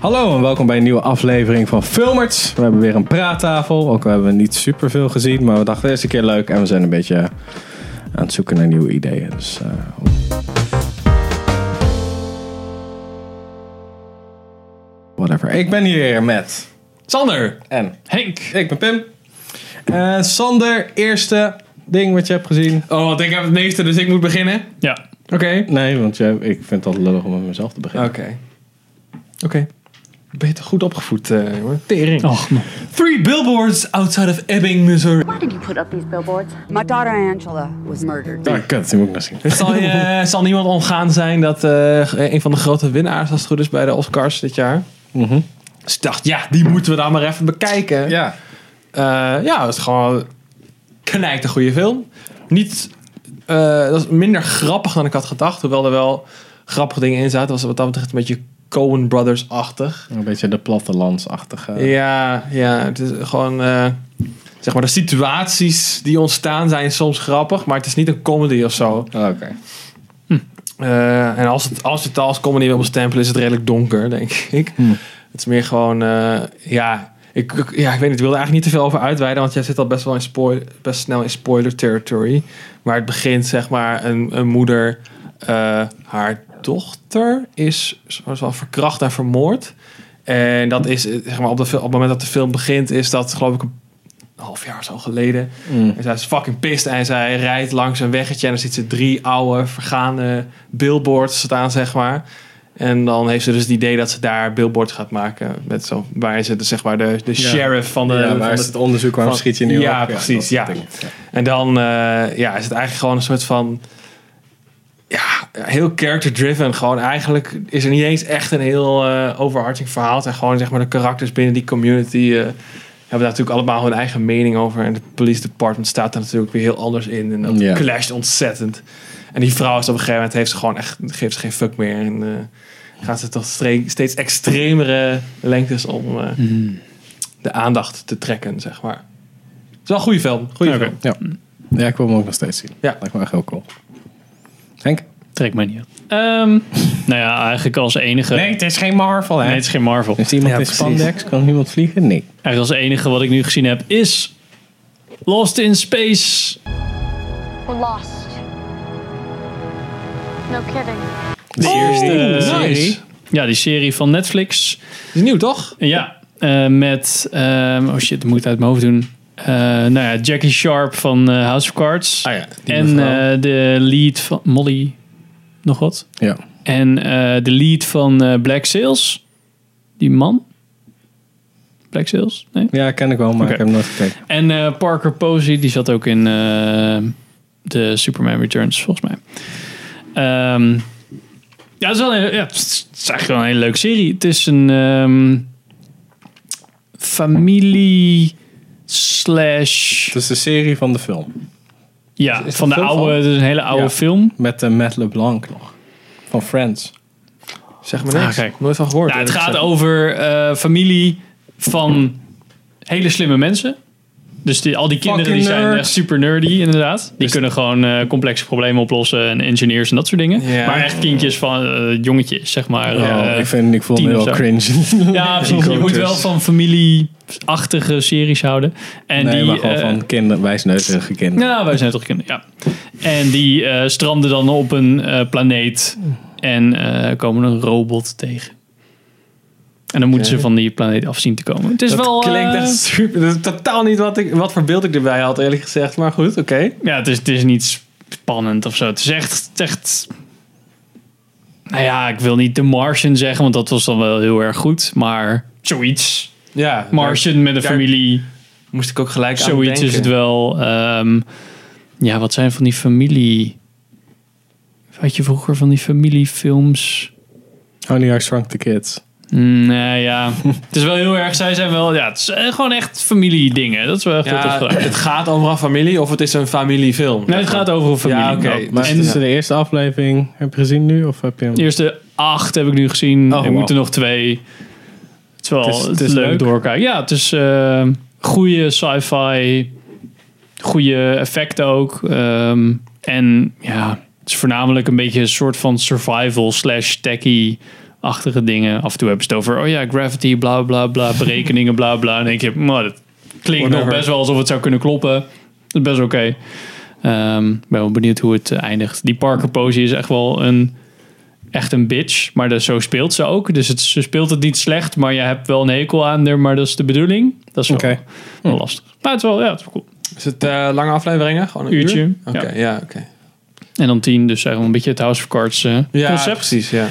Hallo en welkom bij een nieuwe aflevering van Filmerts. We hebben weer een praattafel. Ook al hebben we niet superveel gezien, maar we dachten eerst een keer leuk. En we zijn een beetje aan het zoeken naar nieuwe ideeën. Dus, eh, whatever. Ik ben hier met Sander en Henk. Ik ben Pim. Eh, Sander, eerste ding wat je hebt gezien. Oh, want ik heb het meeste, dus ik moet beginnen. Ja, Oké. Nee, want jij, ik vind het altijd lullig om met mezelf te beginnen. Oké. Oké. Beter goed opgevoed, eh, jongen. Tering. och man. Three billboards outside of Ebbing, Missouri. Why did you put up these billboards? My daughter Angela was murdered. Ah, kut, die moet ik nog zien. Het zal, je, het zal niemand ontgaan zijn dat eh, een van de grote winnaars, als het goed is, bij de Oscars dit jaar. Mhm. Dus ik dacht, ja, die moeten we dan maar even bekijken. Ja. Eh, ja, dat is gewoon knijt een goede film. Niet, eh, dat is minder grappig dan ik had gedacht. Hoewel er wel grappige dingen in zaten. Was wat dat betreft een beetje Coen Brothers-achtig. Een beetje de plattelandsachtige. Ja, ja, het is gewoon... eh, zeg maar, de situaties die ontstaan zijn soms grappig. Maar het is niet een comedy of zo. Oké. Eh, en als het, als je het als comedy wil bestempelen, is het redelijk donker, denk ik. Het is meer gewoon, eh, ja, ik, ik- ja, ik weet niet, ik wilde eigenlijk niet te veel over uitweiden, want jij zit al best wel in spoil, best snel in spoiler territory. Maar het begint, zeg maar, een, een moeder, eh, haar dochter is zoals wel verkracht en vermoord. En dat is, eh, zeg maar, op, de, fil- op het moment dat de film begint, is dat geloof ik een half jaar of zo geleden. Mm. En zij is fucking pissed en zij rijdt langs een weggetje en dan ziet ze drie oude vergaande billboards staan, zeg maar. En dan heeft ze dus het idee dat ze daar billboards gaat maken. Met zo, waar ze de, zeg maar de, de Ja. sheriff van de... ja, van waar is de- het onderzoek? Waarom van- schiet je nu Ja, op? precies, dat soort ja. dingen. en dan eh, ja, is het eigenlijk gewoon een soort van. Ja, heel character-driven. Gewoon eigenlijk is er niet eens echt een heel eh overarching verhaal. Het zijn gewoon zeg maar de karakters binnen die community. eh, hebben daar natuurlijk allemaal hun eigen mening over. En de police department staat daar natuurlijk weer heel anders in. En dat Ja. clasht ontzettend. En die vrouw is op een gegeven moment heeft ze gewoon echt, geeft ze geen fuck meer. En eh, gaat ze tot stre- steeds extremere lengtes om eh, de aandacht te trekken, zeg maar. Het is wel een goede film. Goede Oké. film. Ja. ja, ik wil hem ook nog steeds zien. Mm. Ja. Lijkt me echt heel cool. Henk? Trek mij niet uit. Ehm, nou ja, eigenlijk als enige... het is geen Marvel, Nee, het is geen Marvel. Is iemand Ja, in precies. spandex? Kan iemand vliegen? Nee. Eigenlijk als enige wat ik nu gezien heb is... Lost in Space. We're lost. No kidding. De eerste nice. serie. Ja, die serie van Netflix. Is nieuw, toch? Ja, eh, met... ehm, oh shit, dat moet ik uit mijn hoofd doen. Eh, nou ja, Jackie Sharp van eh, House of Cards. Ah ja. en eh, de lead van... Molly... Nog wat? Ja. En eh, de lead van eh, Black Sails. Die man. Black Sails? Nee? ja, ken ik wel, maar ik heb hem nooit gekeken. En eh, Parker Posey, die zat ook in eh, de Superman Returns, volgens mij. Ehm, ja, het is, wel een, ja, het is eigenlijk wel een hele leuke serie. Het is een ehm, familie slash... Het is de serie van de film. Ja, is er van de veel oude, van? het is een hele oude Ja. film. Met eh, Matt LeBlanc nog. Van Friends. Zeg maar niks. Ah, kijk. Nooit van gehoord. Nou, het eerlijk gaat gezegd. over eh, familie van hele slimme mensen. Dus die, al die kinderen die Fucking zijn nerd. Dus- echt super nerdy, inderdaad. Die kunnen gewoon eh, complexe problemen oplossen en engineers en dat soort dingen. Ja. Maar echt kindjes van eh, jongetjes, zeg maar. Oh, eh, ik, vind, ik voel me tien heel of zo. cringe. ja, precies. Je moet Grooters. wel van familieachtige series houden. En nee, die, maar gewoon eh, van kinderen, wijsneuzige kinderen. ja, nou, wij zijn toch kinderen, ja. En die eh, stranden dan op een eh, planeet en eh, komen een robot tegen. En dan moeten ze van die planeet af zien te komen. Het is Dat wel... klinkt eh, echt super. Dat is totaal niet wat, ik, wat voor beeld ik erbij had, eerlijk gezegd. Maar goed, oké. Ja, het is, het is niet spannend of zo. Het is echt, het is echt... Nou ja, ik wil niet de Martian zeggen, want dat was dan wel heel erg goed. Maar zoiets. Ja. daar Martian met een daar- familie. moest ik ook gelijk aan Zoiets denken. is het wel. ehm, ja, wat zijn van die familie... Had je vroeger van die familiefilms? Honey, I Shrunk the Kids. Mm, Nee, ja. het is wel heel erg... Zij zijn wel... Ja, het is eh, gewoon echt familiedingen. Dat is wel echt goed Ja, gedaan. het gaat overal familie of het is een familiefilm. Nee, het gaat over een familie. Ja, oké. Nou, Maar En- is het de eerste aflevering? Heb je gezien nu? Of heb je hem... De eerste acht heb ik nu gezien. Ehm, Oh, er wauw. moeten nog twee. Het is wel Het is- het is leuk, leuk. doorkijken. Ja, het is eh goede sci-fi. Goede effecten ook. Ehm, en ja, het is voornamelijk een beetje een soort van survival slash techie achtige dingen. Af en toe hebben ze het over, oh ja, gravity, bla bla bla, berekeningen, bla bla. En dan denk je, maar dat klinkt nog Whatever. best wel alsof het zou kunnen kloppen. Dat is best oké. Ehm, ik ben wel benieuwd hoe het eh, eindigt. Die Parker Posey is echt wel een, echt een bitch, maar dat, zo speelt ze ook. Dus het, ze speelt het niet slecht, maar je hebt wel een hekel aan haar, maar dat is de bedoeling. Dat is wel, Oké. Hm. wel lastig. Maar het is wel, ja, het is wel cool. Is het eh, lange afleveringen? Gewoon een Uurtje, uur? ja. Oké, ja, oké. En dan tien, dus eigenlijk een beetje het House of Cards eh, Ja, concept. precies, ja.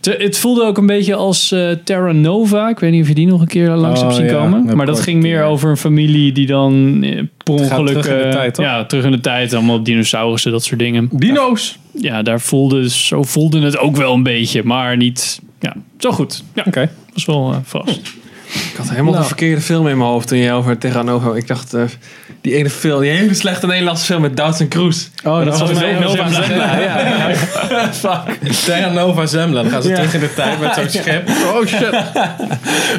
Te- het voelde ook een beetje als eh, Terra Nova. Ik weet niet of je die nog een keer langs Oh, hebt zien ja. komen. Ja, maar dat kort, ging meer ja. over een familie die dan eh, per gaat ongeluk... terug in de eh, tijd, toch? Ja, terug in de tijd. Allemaal dinosaurussen, dat soort dingen. Dino's! Ja, daar voelde, zo voelde het ook wel een beetje. Maar niet... Ja, zo goed. Ja, Oké. was wel eh, vast. Ik had helemaal de verkeerde film in mijn hoofd toen je over Terra Nova... Ik dacht, eh, die ene film, die hele slechte Nederlandse film met Doutzen Cruz. Oh, dat was Terra Terra Nova Nova Zembla. Ja, ja. Fuck. Terra Nova Zembla. Dan gaan ze terug in de tijd met zo'n schip. Oh shit.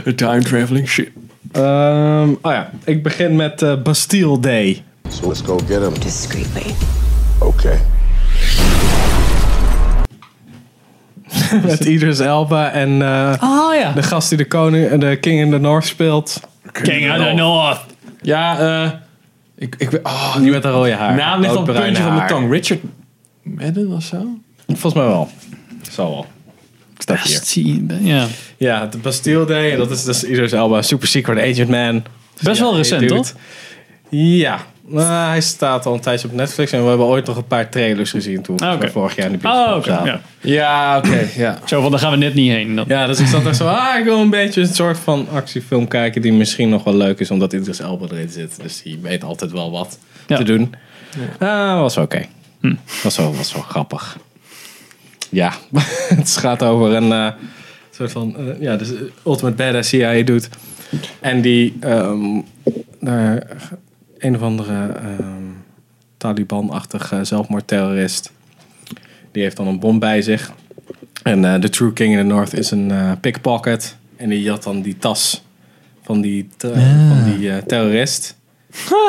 The time traveling shit. Ehm, oh ja, ik begin met eh, Bastille Day. So let's go get him. Discreetly. Okay. Met Idris Elba en eh, Oh ja. de gast die de, koning, de King in the North speelt. King of the North. Ja, eh... ik, ik, oh, Die met de rode haar. naam ligt op het Roodbruine puntje van mijn haar. tong. Richard Madden of zo? Volgens mij wel. Zal wel. Ik sta hier. eh, Ja. Ja, de Bastille Day. Dat is dus Idris Elba, Super Secret Agent Man. Best Ja, wel hey, recent, dude. toch? Ja. Nou, hij staat al een tijdje op Netflix en we hebben ooit nog een paar trailers gezien toen Ah, oké. we vorig jaar in de bioscoop Oh, oké. zaten. Ja. Ja, oké, ja. Zo van, daar gaan we net niet heen. Dat, Ja, dus ik zat daar zo, ah, ik wil een beetje een soort van actiefilm kijken die misschien nog wel leuk is, omdat Idris Elba erin zit. Dus die weet altijd wel wat Ja. te doen. Ah, was wel oké. Was, wel, was wel grappig. Ja, het gaat over een eh, soort van, eh, ja, dus eh, Ultimate Badass CIA doet. En die ehm, naar een of andere ehm, Taliban-achtige eh, zelfmoordterrorist, die heeft dan een bom bij zich. En eh, de True King in the North is een eh, pickpocket. En die had dan die tas van die, te- van die eh, terrorist.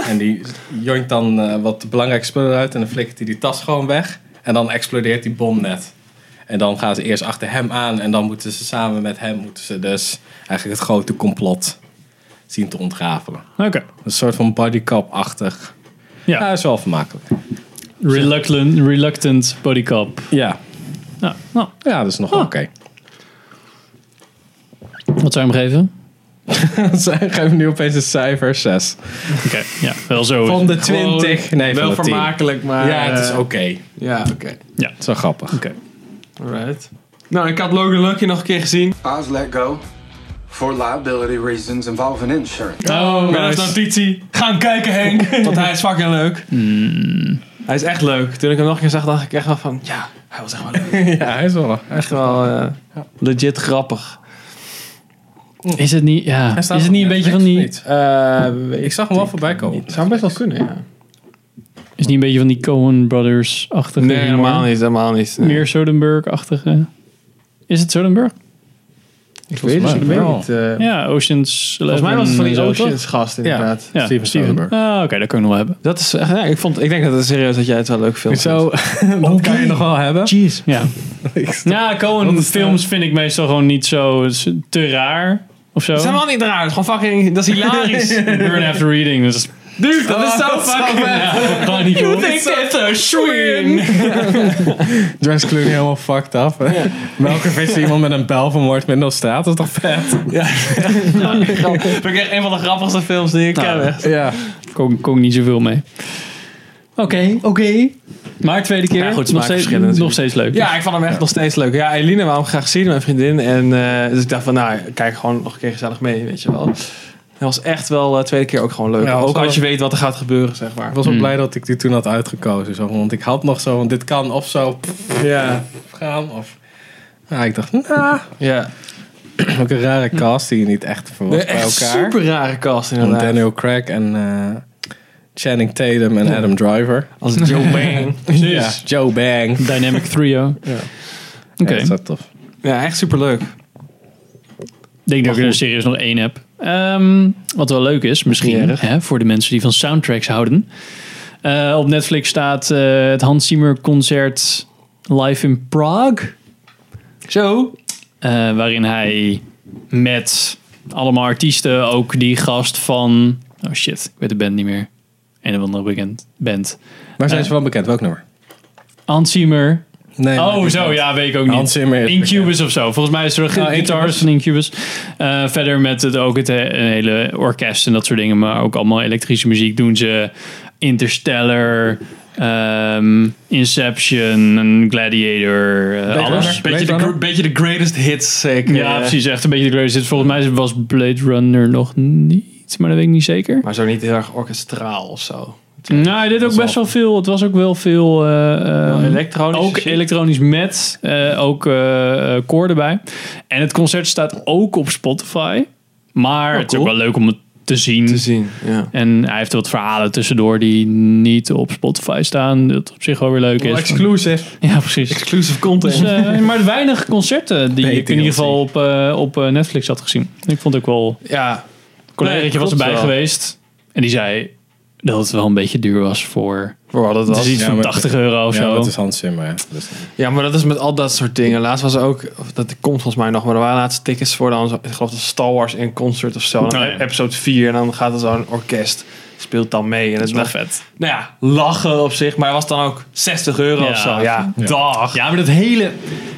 En die jonkt dan eh, wat belangrijke spullen uit. En dan flikkert hij die tas gewoon weg. En dan explodeert die bom net. En dan gaan ze eerst achter hem aan. En dan moeten ze samen met hem moeten ze dus eigenlijk het grote complot zien te ontrafelen. Oké. Een soort van bodycop-achtig. Ja. Ja, is wel vermakelijk. Reluctant, reluctant bodycop. Ja, Nou, nou, ja dat is nog wel Ah. oké. wat zou je hem geven? Ze geven nu opeens een cijfer 6. Oké, ja, wel zo. Van de Gewoon 20. Nee, wel van de 10. vermakelijk, maar... Ja, het is eh, oké. Ja, oké. Het is wel grappig. Oké. Alright. Nou, ik had Logan Lucky nog een keer gezien. I was let go for liability reasons involving insurance. Oh, nice. Met als notitie. Ga hem kijken, Henk. Want hij is fucking leuk. Hij is echt leuk. Toen ik hem nog een keer zag, dacht ik echt wel van... Ja, hij was echt wel leuk. Ja, hij is wel. Echt wel eh, legit grappig. Is het niet, ja, is staat het op niet een beetje van die, is Eh, Ik zag hem wel voorbij komen. zou best wel kunnen, ja. het niet een beetje van die Cohen Brothers-achtige? Nee, humor? helemaal niet. Helemaal niet. Nee. Meer Soderbergh-achtige. Is het Soderbergh? ik weet mij het wel. niet. eh, Ja, Ocean's. Volgens mij was het van die Eleven en zo, Oceans gast, inderdaad. toch? Ja, Steven Steven. Soderbergh. Ah, oké, dat kunnen we wel hebben. Dat is echt... Ja, ik, vond, ik denk dat het serieus dat jij het wel leuk vindt. Zo, dat kan je nog wel hebben. Jeez. Ja. ja, Cohen films vind ik meestal gewoon niet zo het is te raar of zo. Dat is helemaal niet raar. Het is gewoon fucking... Dat is hilarisch. Burn after reading. Dat is Dude, dat is zo fucking... gewoon niet cool. that's a swing? Dress Clooney helemaal fucked up. hè? Melker vist iemand met een bel vermoord midden op straat. Dat is toch vet? Vind ik echt een van de grappigste films die ik Nou, ken. echt. Ja. Kon, kon ik niet zoveel mee. Oké, oké. Maar tweede keer. Ja, goed, nog, steeds, smaakverschillen natuurlijk. nog steeds leuk. Ja, ik vond hem echt nog steeds leuk. Ja, Eline wou hem graag zien, mijn vriendin. En eh, dus ik dacht van, nou, kijk gewoon nog een keer gezellig mee, weet je wel. Hij was echt wel de tweede keer ook gewoon leuk. Ja, was ook wel- als je weet wat er gaat gebeuren, zeg maar. Ik was wel blij dat ik die toen had uitgekozen. Zo, want ik had nog zo, want dit kan of zo pff, Ja. gaan. Of, ja, ik dacht, nou, ja. ook een rare cast die je niet echt verwacht Nee, bij echt elkaar. super rare cast Want inderdaad. Daniel Craig en eh, Channing Tatum en Adam Driver. Als Joe Bang. Ja, Joe Bang. Dynamic Trio. Oké. Ja, dat is wel tof. Ja, echt super leuk. Ik denk dat ik er serieus nog één heb. Ehm, wat wel leuk is, misschien hè, voor de mensen die van soundtracks houden. Eh, op Netflix staat eh, het Hans Zimmer concert Live in Prague. Zo. eh, waarin hij met allemaal artiesten, ook die gast van. Oh shit, ik weet de band niet meer. Een of andere bekend band. Waar zijn Eh. ze van bekend? Welk nummer? Hans Zimmer. Nee, Oh, maar- zo, ja, weet ik ook niet. Hans Zimmer is Incubus of zo. Volgens mij is er een Oh, guitarist van Incubus. Eh, verder met het, ook het he- een hele orkest en dat soort dingen. Maar ook allemaal elektrische muziek doen ze. Interstellar, ehm, Inception, Gladiator, eh, Runner. alles. Beetje de, Blade gr- beetje de greatest hits, zeker. eh. Ja, precies. Echt een beetje de greatest hits. Volgens mij was Blade Runner nog niet, maar dat weet ik niet zeker. Maar zo niet heel erg orkestraal of zo. Nou, dit ook Eh, is best wel veel. Het was ook wel veel eh, ehm, elektronisch Ook shit. elektronisch met eh, ook eh eh, koorden bij. En het concert staat ook op Spotify. Maar het is ook Oh, cool. wel leuk om het te zien. Te zien, ja. En hij heeft wat verhalen tussendoor die niet op Spotify staan. Dat op zich wel weer leuk Oh, is. Exclusive. ja, precies. Exclusive content. Dus, eh, maar weinig concerten die ik in ieder geval op, eh, op eh, Netflix had gezien. Ik vond ook wel ja. collegaatje was klopt erbij wel. geweest. En die zei dat het wel een beetje duur was voor... Voor wat het Het was. is iets Ja, van maar- 80 euro of Ja, zo. dat is Hans Zimmer. hè. Dus- Ja, maar dat is met al dat soort dingen. Laatst was er ook, of dat komt volgens mij nog, maar er waren laatst tickets voor dan, zo- ik geloof dat Star Wars in concert of zo. Dan Oh, ja. Episode 4 en dan gaat er zo'n orkest, speelt dan mee. En dat is wel vet. Nou ja, lachen op zich, maar het was dan ook 60 euro Ja. of zo. Ja, dag. Ja, maar dat hele...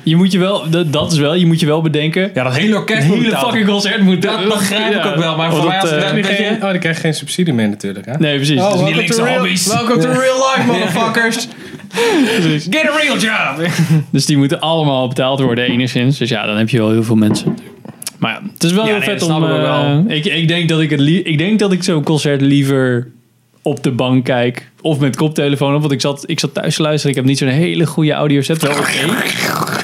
Je moet je wel... Dat, dat is wel... Je moet je wel bedenken... Ja, dat hele orkest Het moet hele betaald fucking concert moet... Dat begrijp ik ook wel, maar voor mij als eh, het Ja, weet die je- geen- Oh, die krijgt geen subsidie mee natuurlijk. Hè? Nee, precies. Oh, Dus niet welcome links to de real- hobby's. Welcome to real life, motherfuckers. Get a real job! Dus die moeten allemaal betaald worden enigszins. Dus ja, dan heb je wel heel veel mensen. Maar ja, het is wel Ja, heel nee, vet dat om... snap ik ook eh, wel. ik, ik denk dat ik, het lie- ik denk dat ik zo'n concert liever op de bank kijk. Of met koptelefoon op. Want ik zat, ik zat thuis te luisteren. Ik heb niet zo'n hele goede audio set. Wel oké.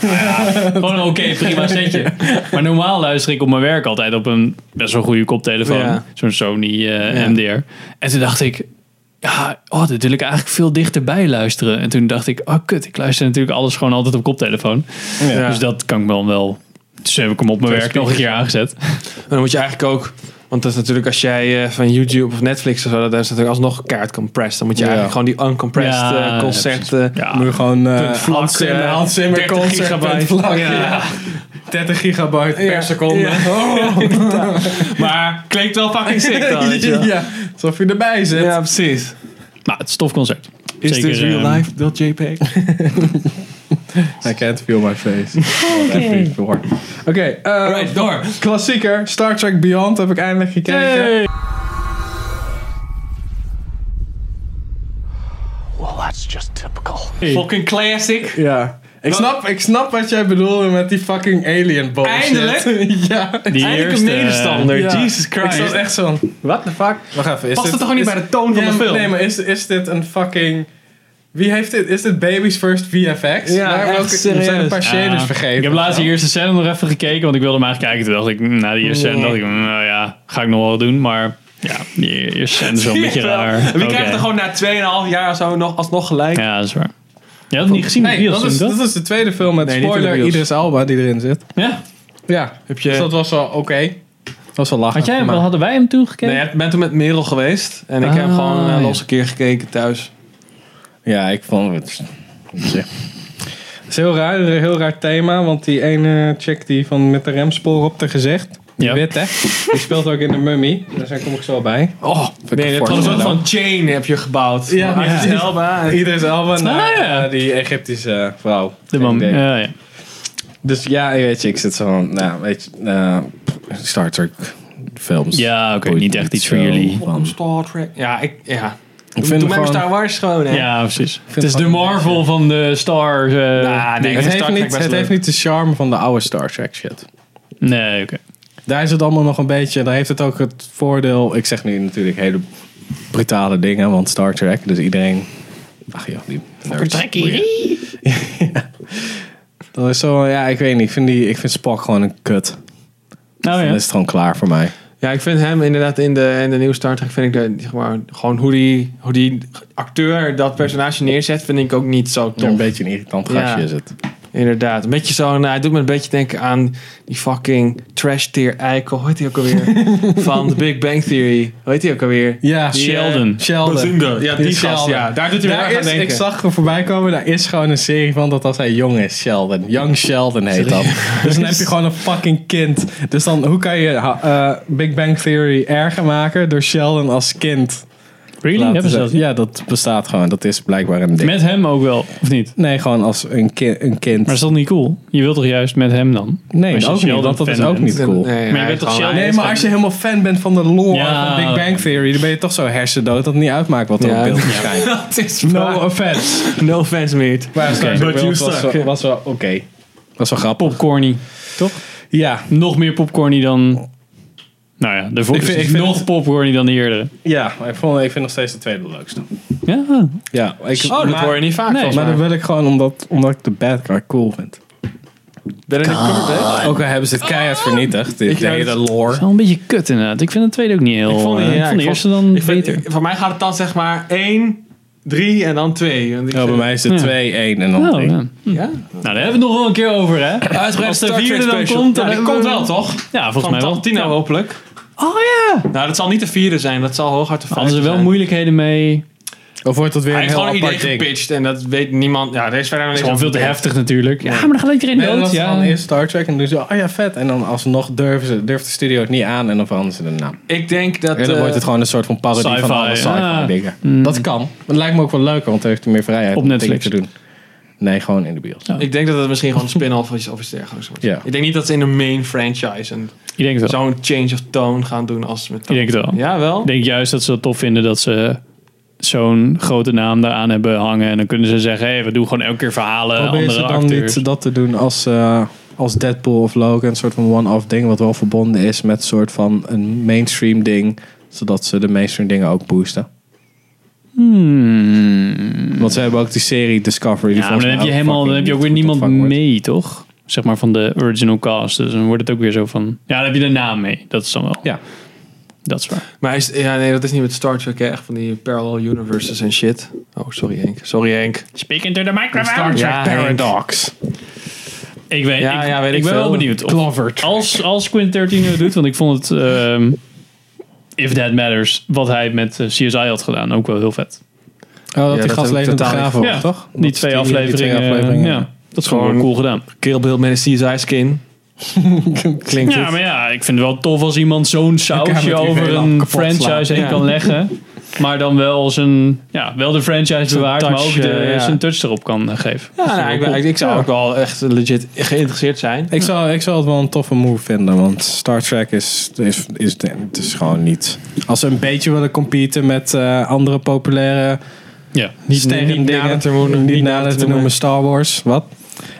Ja, gewoon een oké, prima setje. Maar normaal luister ik op mijn werk altijd op een best wel goede koptelefoon. Ja. Zo'n Sony eh, Ja. MDR. En toen dacht ik, ja, oh, dit wil ik eigenlijk veel dichterbij luisteren. En toen dacht ik, oh kut, ik luister natuurlijk alles gewoon altijd op koptelefoon. Ja. Dus dat kan ik wel wel. Dus heb ik hem op mijn werk nog een keer aangezet. Maar dan moet je eigenlijk ook... Want dat is natuurlijk als jij eh, van YouTube of Netflix of zo... Dat is natuurlijk alsnog kaart compressed. Dan moet je Ja. eigenlijk gewoon die uncompressed Ja, eh, concerten... Ja. Moet je gewoon eh vlak, Hans Zimmer, eh, Hans Zimmer 30 concert, gigabyte. punt vlak, ja. Ja. 30 gigabyte per seconde. Oh. Maar klinkt wel fucking sick dan, weet je wel. ja, alsof je erbij zit. Ja, precies. Maar het is een tof concert. Is Zeker, this real ehm, life, dat JPEG? I can't feel my face. Oké, eh, Right, door. klassieker. Star Trek Beyond heb ik eindelijk gekeken. Fucking classic. Ja. Ik snap, ik snap wat jij bedoelde met die fucking alien bullshit. Eindelijk? eh, ja. Die Eindelijk een eerste, medestander. Ja. Jesus Christ. Ik zat echt zo'n, what the fuck? Wacht even. Is dit, Past het toch gewoon niet is- bij de toon van Ja, de film? Nee, maar is, is dit een fucking... Wie heeft dit? Is dit Baby's First VFX? Ja, echt welke- serieus. zijn een paar shaders Ja. vergeten. Ah. Ik heb laatst die eerste scène nog even gekeken, want ik wilde hem eigenlijk kijken. Toen dacht ik, mm, na die eerste scène dacht ik, mm, nou ja, ga ik nog wel doen. Maar ja, die eerste scène is wel een beetje Zie je wel. raar. En Wie Oké. krijgt er gewoon na 2,5 jaar of zo nog, alsnog gelijk? Ja, dat is waar. Je had het niet gezien, Nee, nee, dat is, dat is de tweede film met Nee, niet in de spoiler bios. Idris Alba die erin zit. Ja. Ja, Heb je- dus dat was wel oké. Dat was wel lachen. Had jij hem, maar- hadden wij hem toen gekeken? Nee, ik ben toen met Merel geweest. En ik heb Ah, gewoon eh, ja. een losse keer gekeken thuis. Ja, ik vond het... Het is heel raar, een heel raar thema, want die ene chick die van met de remspoor op haar gezicht, die Ja. witte, die speelt ook in de Mummy. Daar kom ik zo bij. Oh, nee, je hebt voor- gewoon een soort Ja. van chain heb je gebouwd. Ja, Van Idris ja. Elba. en- Idris Elba naar Ah, ja. eh, die Egyptische vrouw. De Geen man. idee. Ja, ja. Dus ja, weet je, ik zit zo van, nou, weet je, eh, Star Trek films. ja oké, Boeit niet echt iets zo voor jullie. van. Star Trek. Ja, ik, ja. Ik Doe vind mij maar gewoon- Star Wars gewoon, hè. Ja, precies. Het het is de gewoon- Marvel van de Star. eh, Nah, nee, dingen. het Star heeft, Trek niet, best het leuk. heeft niet de charme van de oude Star Trek shit. Nee, oké. Daar is het allemaal nog een beetje. Daar heeft het ook het voordeel. Ik zeg nu natuurlijk hele brutale dingen, want Star Trek. Dus iedereen. Ach joh, die nerds. Oh, Ja. Dat is zo. Ja, ik weet niet. Ik vind, die, ik vind Spock gewoon een kut. Oh Nou Dan ja. is het gewoon klaar voor mij. Ja, ik vind hem inderdaad in de, in de nieuwe Star Trek, vind ik de, zeg maar, gewoon hoe die, hoe die acteur dat personage neerzet, vind ik ook niet zo tof. Een beetje een irritant Ja. gastje is het. Inderdaad. Een beetje zo, nou, het doet me een beetje denken aan die fucking trash tier eikel. Hoe heet die ook alweer? Van The Big Bang Theory. Hoe heet die ook alweer? Ja, Die, Sheldon. eh, Sheldon. Bazinga. Ja, die gast, ja. Daar doet hij me erg aan is, denken. Ik zag hem voorbij komen. Daar is gewoon een serie van dat als hij jong is, Sheldon. Young Sheldon heet dat. Dus dan heb je gewoon een fucking kind. Dus dan, hoe kan je eh, Big Bang Theory erger maken door Sheldon als kind? Really? laten Hebben ze zijn? dat? Ja, dat bestaat gewoon. Dat is blijkbaar een ding. Met hem ook wel, of niet? Nee, gewoon als een, ki- een kind. Maar is dat niet cool? Je wilt toch juist met hem dan? Als nee, je ook niet, Sheldon want dat is fan ook bent. niet cool. Nee, hij je bent is toch gewoon- Sheldon? Nee, maar als je helemaal fan bent van de lore Ja. van Big Bang Theory, dan ben je toch zo hersendood dat het niet uitmaakt wat er Ja. op beeld verschijnt. Het is No no, offense. no fans meer. Maar Oké. Starship But you World was, suck. wel- was wel oké. Was wel grappig. Popcorny. Ja, Nog meer popcorny dan... Nou ja, de Ik ik vind- ik vind nog het- popcorny dan de eerdere. ja maar ik, vond, ik vind nog steeds de tweede de leukste. Ja, Ja, ik, Oh, dat maar, hoor je niet vaak Nee, volgens Maar mij. dat wil ik gewoon omdat, omdat ik de bad guy cool vind. Benedict Cumberbatch? Ook al hebben ze het keihard Oh. vernietigd, de, Ik de vind hele het- lore. wel een beetje kut inderdaad. Ik vind de tweede ook niet heel... Ik vond die- eh, ja, ik de vond- eerste dan ik vind- beter. ik- voor mij gaat het dan zeg maar 1, 3 en dan 2. Want ik Ja, bij vind- mij is het Ja. 2, 1 en dan Oh, 3. ja. Ja? Nou, daar hebben we het nog wel een keer over, hè? Uitgebreid Als de Star Trek vierde dan special. komt, dan Ja, die hebben komt we- wel toch? Ja, volgens Van mij wel. Tarantino hopelijk. Oh ja! Nou, dat zal niet de vierde zijn. Dat zal hooguit de vijfde Hadden ze wel zijn. moeilijkheden mee. Of wordt dat weer Hij een heeft heel gewoon een idee apart ding? gepitcht en dat weet niemand. Ja, er is verder nog niks is gewoon over veel te bekend. heftig natuurlijk. Ja, maar dan gaat iedereen Nee, dan dood. was het Ja. gewoon eerst Star Trek en dan doen ze, oh ja, vet. En dan alsnog durven ze, durft de studio het niet aan en dan veranderen ze de naam. Ik denk dat... En dan eh, wordt het gewoon een soort van parodie van sci-fi, alle sci-fi ja. Mm. dingen. Dat kan. Dat lijkt me ook wel leuker, want dan heeft hij meer vrijheid Op om dingen Netflix. te doen. Nee, gewoon in de bios. Ja. Ik denk dat het misschien gewoon een spin-off is of iets dergelijks wordt. Ja. Ik denk niet dat ze in de main franchise een- Ik denk het wel. zo'n change of tone gaan doen als met... Ik denk het wel. Ja, wel? Ik denk juist dat ze het tof vinden dat ze zo'n grote naam daaraan hebben hangen. En dan kunnen ze zeggen, hé, we doen gewoon elke keer verhalen. Probeer ze Eh, andere dan acteurs. niet dat te doen als, eh, als Deadpool of Logan. Een soort van one-off ding wat wel verbonden is met een soort van een mainstream ding. Zodat ze de mainstream dingen ook boosten. Want ze hebben ook die serie Discovery. Die Hmm. Ja, maar dan heb je helemaal, dan heb je ook weer niemand mee, toch? Zeg maar van de original cast. Dus dan wordt het ook weer zo van... Ja, dan heb je de naam mee. Dat is dan wel... Ja. Dat is waar. Maar is, ja, nee, dat is niet met Star Trek, hè. Echt van die parallel universes en shit. Oh, sorry Henk. Sorry Henk. Speak into the microphone. Ja, Henk. Ik weet, Ja, ik, ja, weet ik ik ben veel. wel benieuwd. Of, als, als Quentin Tarantino het doet, want ik vond het, ehm, if that matters, wat hij met eh, CSI had gedaan, ook wel heel vet. Oh, dat Ja, die dat gast heb ik levend totaal begraven niet- was, Ja, Oh, toch? Dat Die is twee die afleveringen. twee eh, ja, dat is gewoon Gewoon- wel cool gedaan. Keelbeeld met een CSI-skin. Klinkt Ja, het. maar ja, ik vind het wel tof als iemand zo'n sausje met die over vela een kapot slaan. franchise heen Ja. kan leggen. Maar dan wel zijn, ja, wel de franchise bewaart, maar touch, ook de, eh, ja. zijn touch erop kan eh, geven. Ja, nou, ik, ben- ik, ik zou ook wel echt legit geïnteresseerd zijn. Ik zou, ik zou het wel een toffe move vinden, want Star Trek is, is, is, het is gewoon niet. Als ze een beetje willen competen met eh, andere populaire Ja. sterren niet dingen, nader te noemen. niet Niet nader nader te te noemen noemen. Star Wars, wat?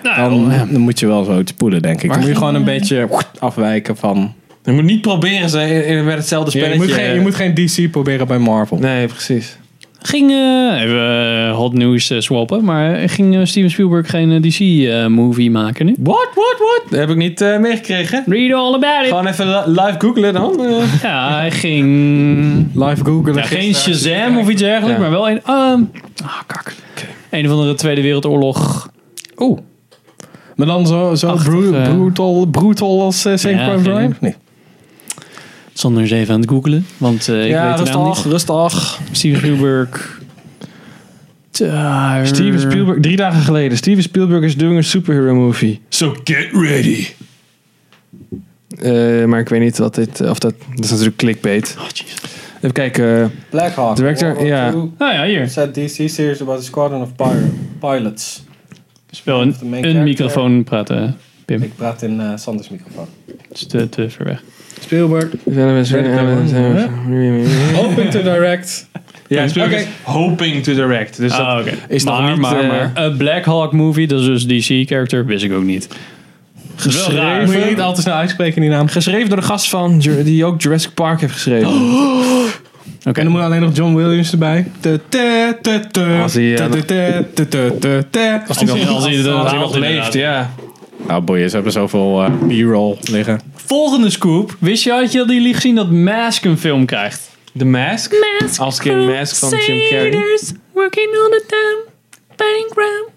Dan, Nou, ja. dan moet je wel zo te poelen, denk ik. Dan moet je gewoon een beetje afwijken van. Je moet niet proberen ze in, in- met hetzelfde Ja, spelletje. je, moet geen, je moet geen DC proberen bij Marvel. Nee, precies. Ging, eh, even eh, hot nieuws eh, swappen, maar eh, ging eh, Steven Spielberg geen DC-movie maken nu? What, what, what? Dat heb ik niet eh, meegekregen. Read all about it. Gewoon even li- live googlen dan. eh. Ja, hij ging... Live googlen. Ja, geen Shazam of iets dergelijks, Ja. maar wel een... ehm, ah, kak. Een of andere Tweede Wereldoorlog Oeh. Maar dan zo, zo Achtig, bru- eh. brutal, brutal als eh, Saving Ja, Private geen- Ryan? Nee. Zonder eens even aan het googelen, want eh, ik ja, weet de naam rustig, niet. rustig. Steven Spielberg. Daar- Steven Spielberg, drie dagen geleden. Steven Spielberg is doing a superhero movie. So get ready. Eh, maar ik weet niet wat dit... Of dat, dat is natuurlijk clickbait. Oh, Even kijken. eh, Black Hawk. Director, World War ja. II. Nou ja, hier. Said DC series about a squadron of pilots. Is wel een, De main een character. microfoon praten, Pim. Ik praat in eh, Sanders microfoon. Het is te, te ver weg. Spielberg, hoping to direct. Ja, Spielberg Oké. is hoping to direct. Dus dat- Ah, oké. is nog maar, niet, maar, eh, maar. A Black Hawk movie, dat is dus DC-character, wist ik ook niet. Geschreven. raar. Moet je niet altijd snel uitspreken die naam. geschreven door de gast van... Ju- Die ook Jurassic Park heeft geschreven. En dan moet alleen nog John Williams erbij. Te, te, te, te. Als hij, eh, Te, te, te, te, te, te. Als hij nog- als hij nog- Als hij nog leeft, ja. ja. Nou boeien, ze hebben zoveel eh, B-roll liggen. Volgende scoop. Wist je, had je al jullie gezien dat Mask een film krijgt? The Mask. Als King Mask van Jim Carrey. working all the time, fighting crime.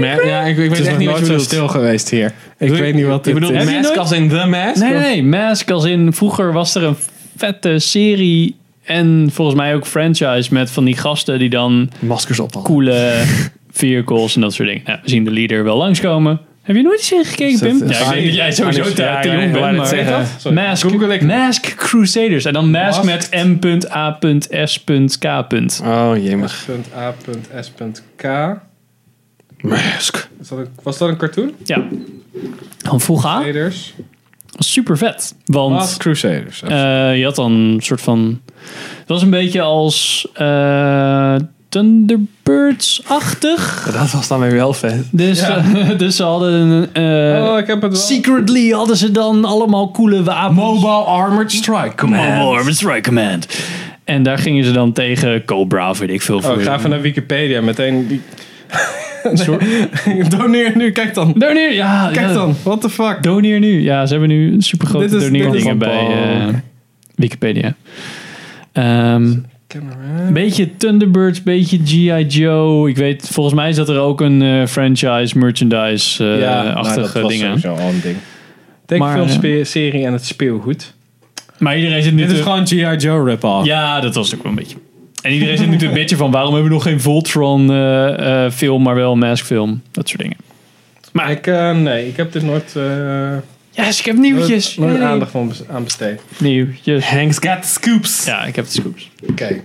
Ma- ja, Het ik, ik weet is echt nog niet wat nooit je zo bedoelt. stil geweest hier. Ik Doe je- weet niet wat je dit bedoelt is. Heb je mask nooit- als in The Mask? Nee, nee, Of- nee. Mask als in... Vroeger was er een vette serie en volgens mij ook franchise met van die gasten die dan Maskers op dan. coole vehicles en dat soort dingen. Nou, we zien de leader wel langskomen. Heb je nooit eens gekeken, dat- Pim? is Ja, ik dat- denk dat jij sowieso Ja, te, ja, te ja, jong ja, bent, ja, maar... zeg dat. Sorry. Mask, Google ik. Mask Crusaders. En dan Mask, met M.A.S.K. Oh, jemig. .a.s.k. Mask. Is dat een- Was dat een cartoon? Ja. Van Ah. vroeger. Crusaders. Super vet. Want... Last Crusaders. Eh, je had dan een soort van. Het was een beetje als. eh, Thunderbirds-achtig. Dat was dan weer wel vet. Dus, eh, dus ze hadden. een, eh, oh, ik heb het wel. secretly hadden ze dan allemaal coole wapens. Mobile Armored Strike Command. Mobile Armored Strike Command. En daar gingen ze dan tegen Cobra, of weet ik veel. Oh, ik ga even naar Wikipedia. Meteen die... Doneer nu, kijk dan. Doneer, ja. Kijk ja. dan, what the fuck. Doneer nu. Ja, ze hebben nu een supergrote Dit is- dit is- doneerdingen bij eh, Wikipedia. Ehm Beetje Thunderbirds, beetje G.I. Joe. Ik weet, volgens mij zat er ook een eh, franchise, Eh, nou, merchandise-achtige dingen. al een ding. Maar, Tekenfilm, eh, spe- serie en het speelgoed. Maar iedereen zit nu Dit te- is gewoon G.I. Joe rip-off. Ja, dat was ook wel een beetje. En iedereen zit nu te bitchen van waarom hebben we nog geen Voltron-film, maar wel een maskfilm. Dat soort dingen. Maar ik, eh, nee, ik heb dit nooit, eh, Yes, ik heb nooit, nieuwtjes. nooit Yay. aandacht aan bes- aan besteed. Nieuwtjes. Hank's got scoops. Ja, ik heb de scoops. Oké.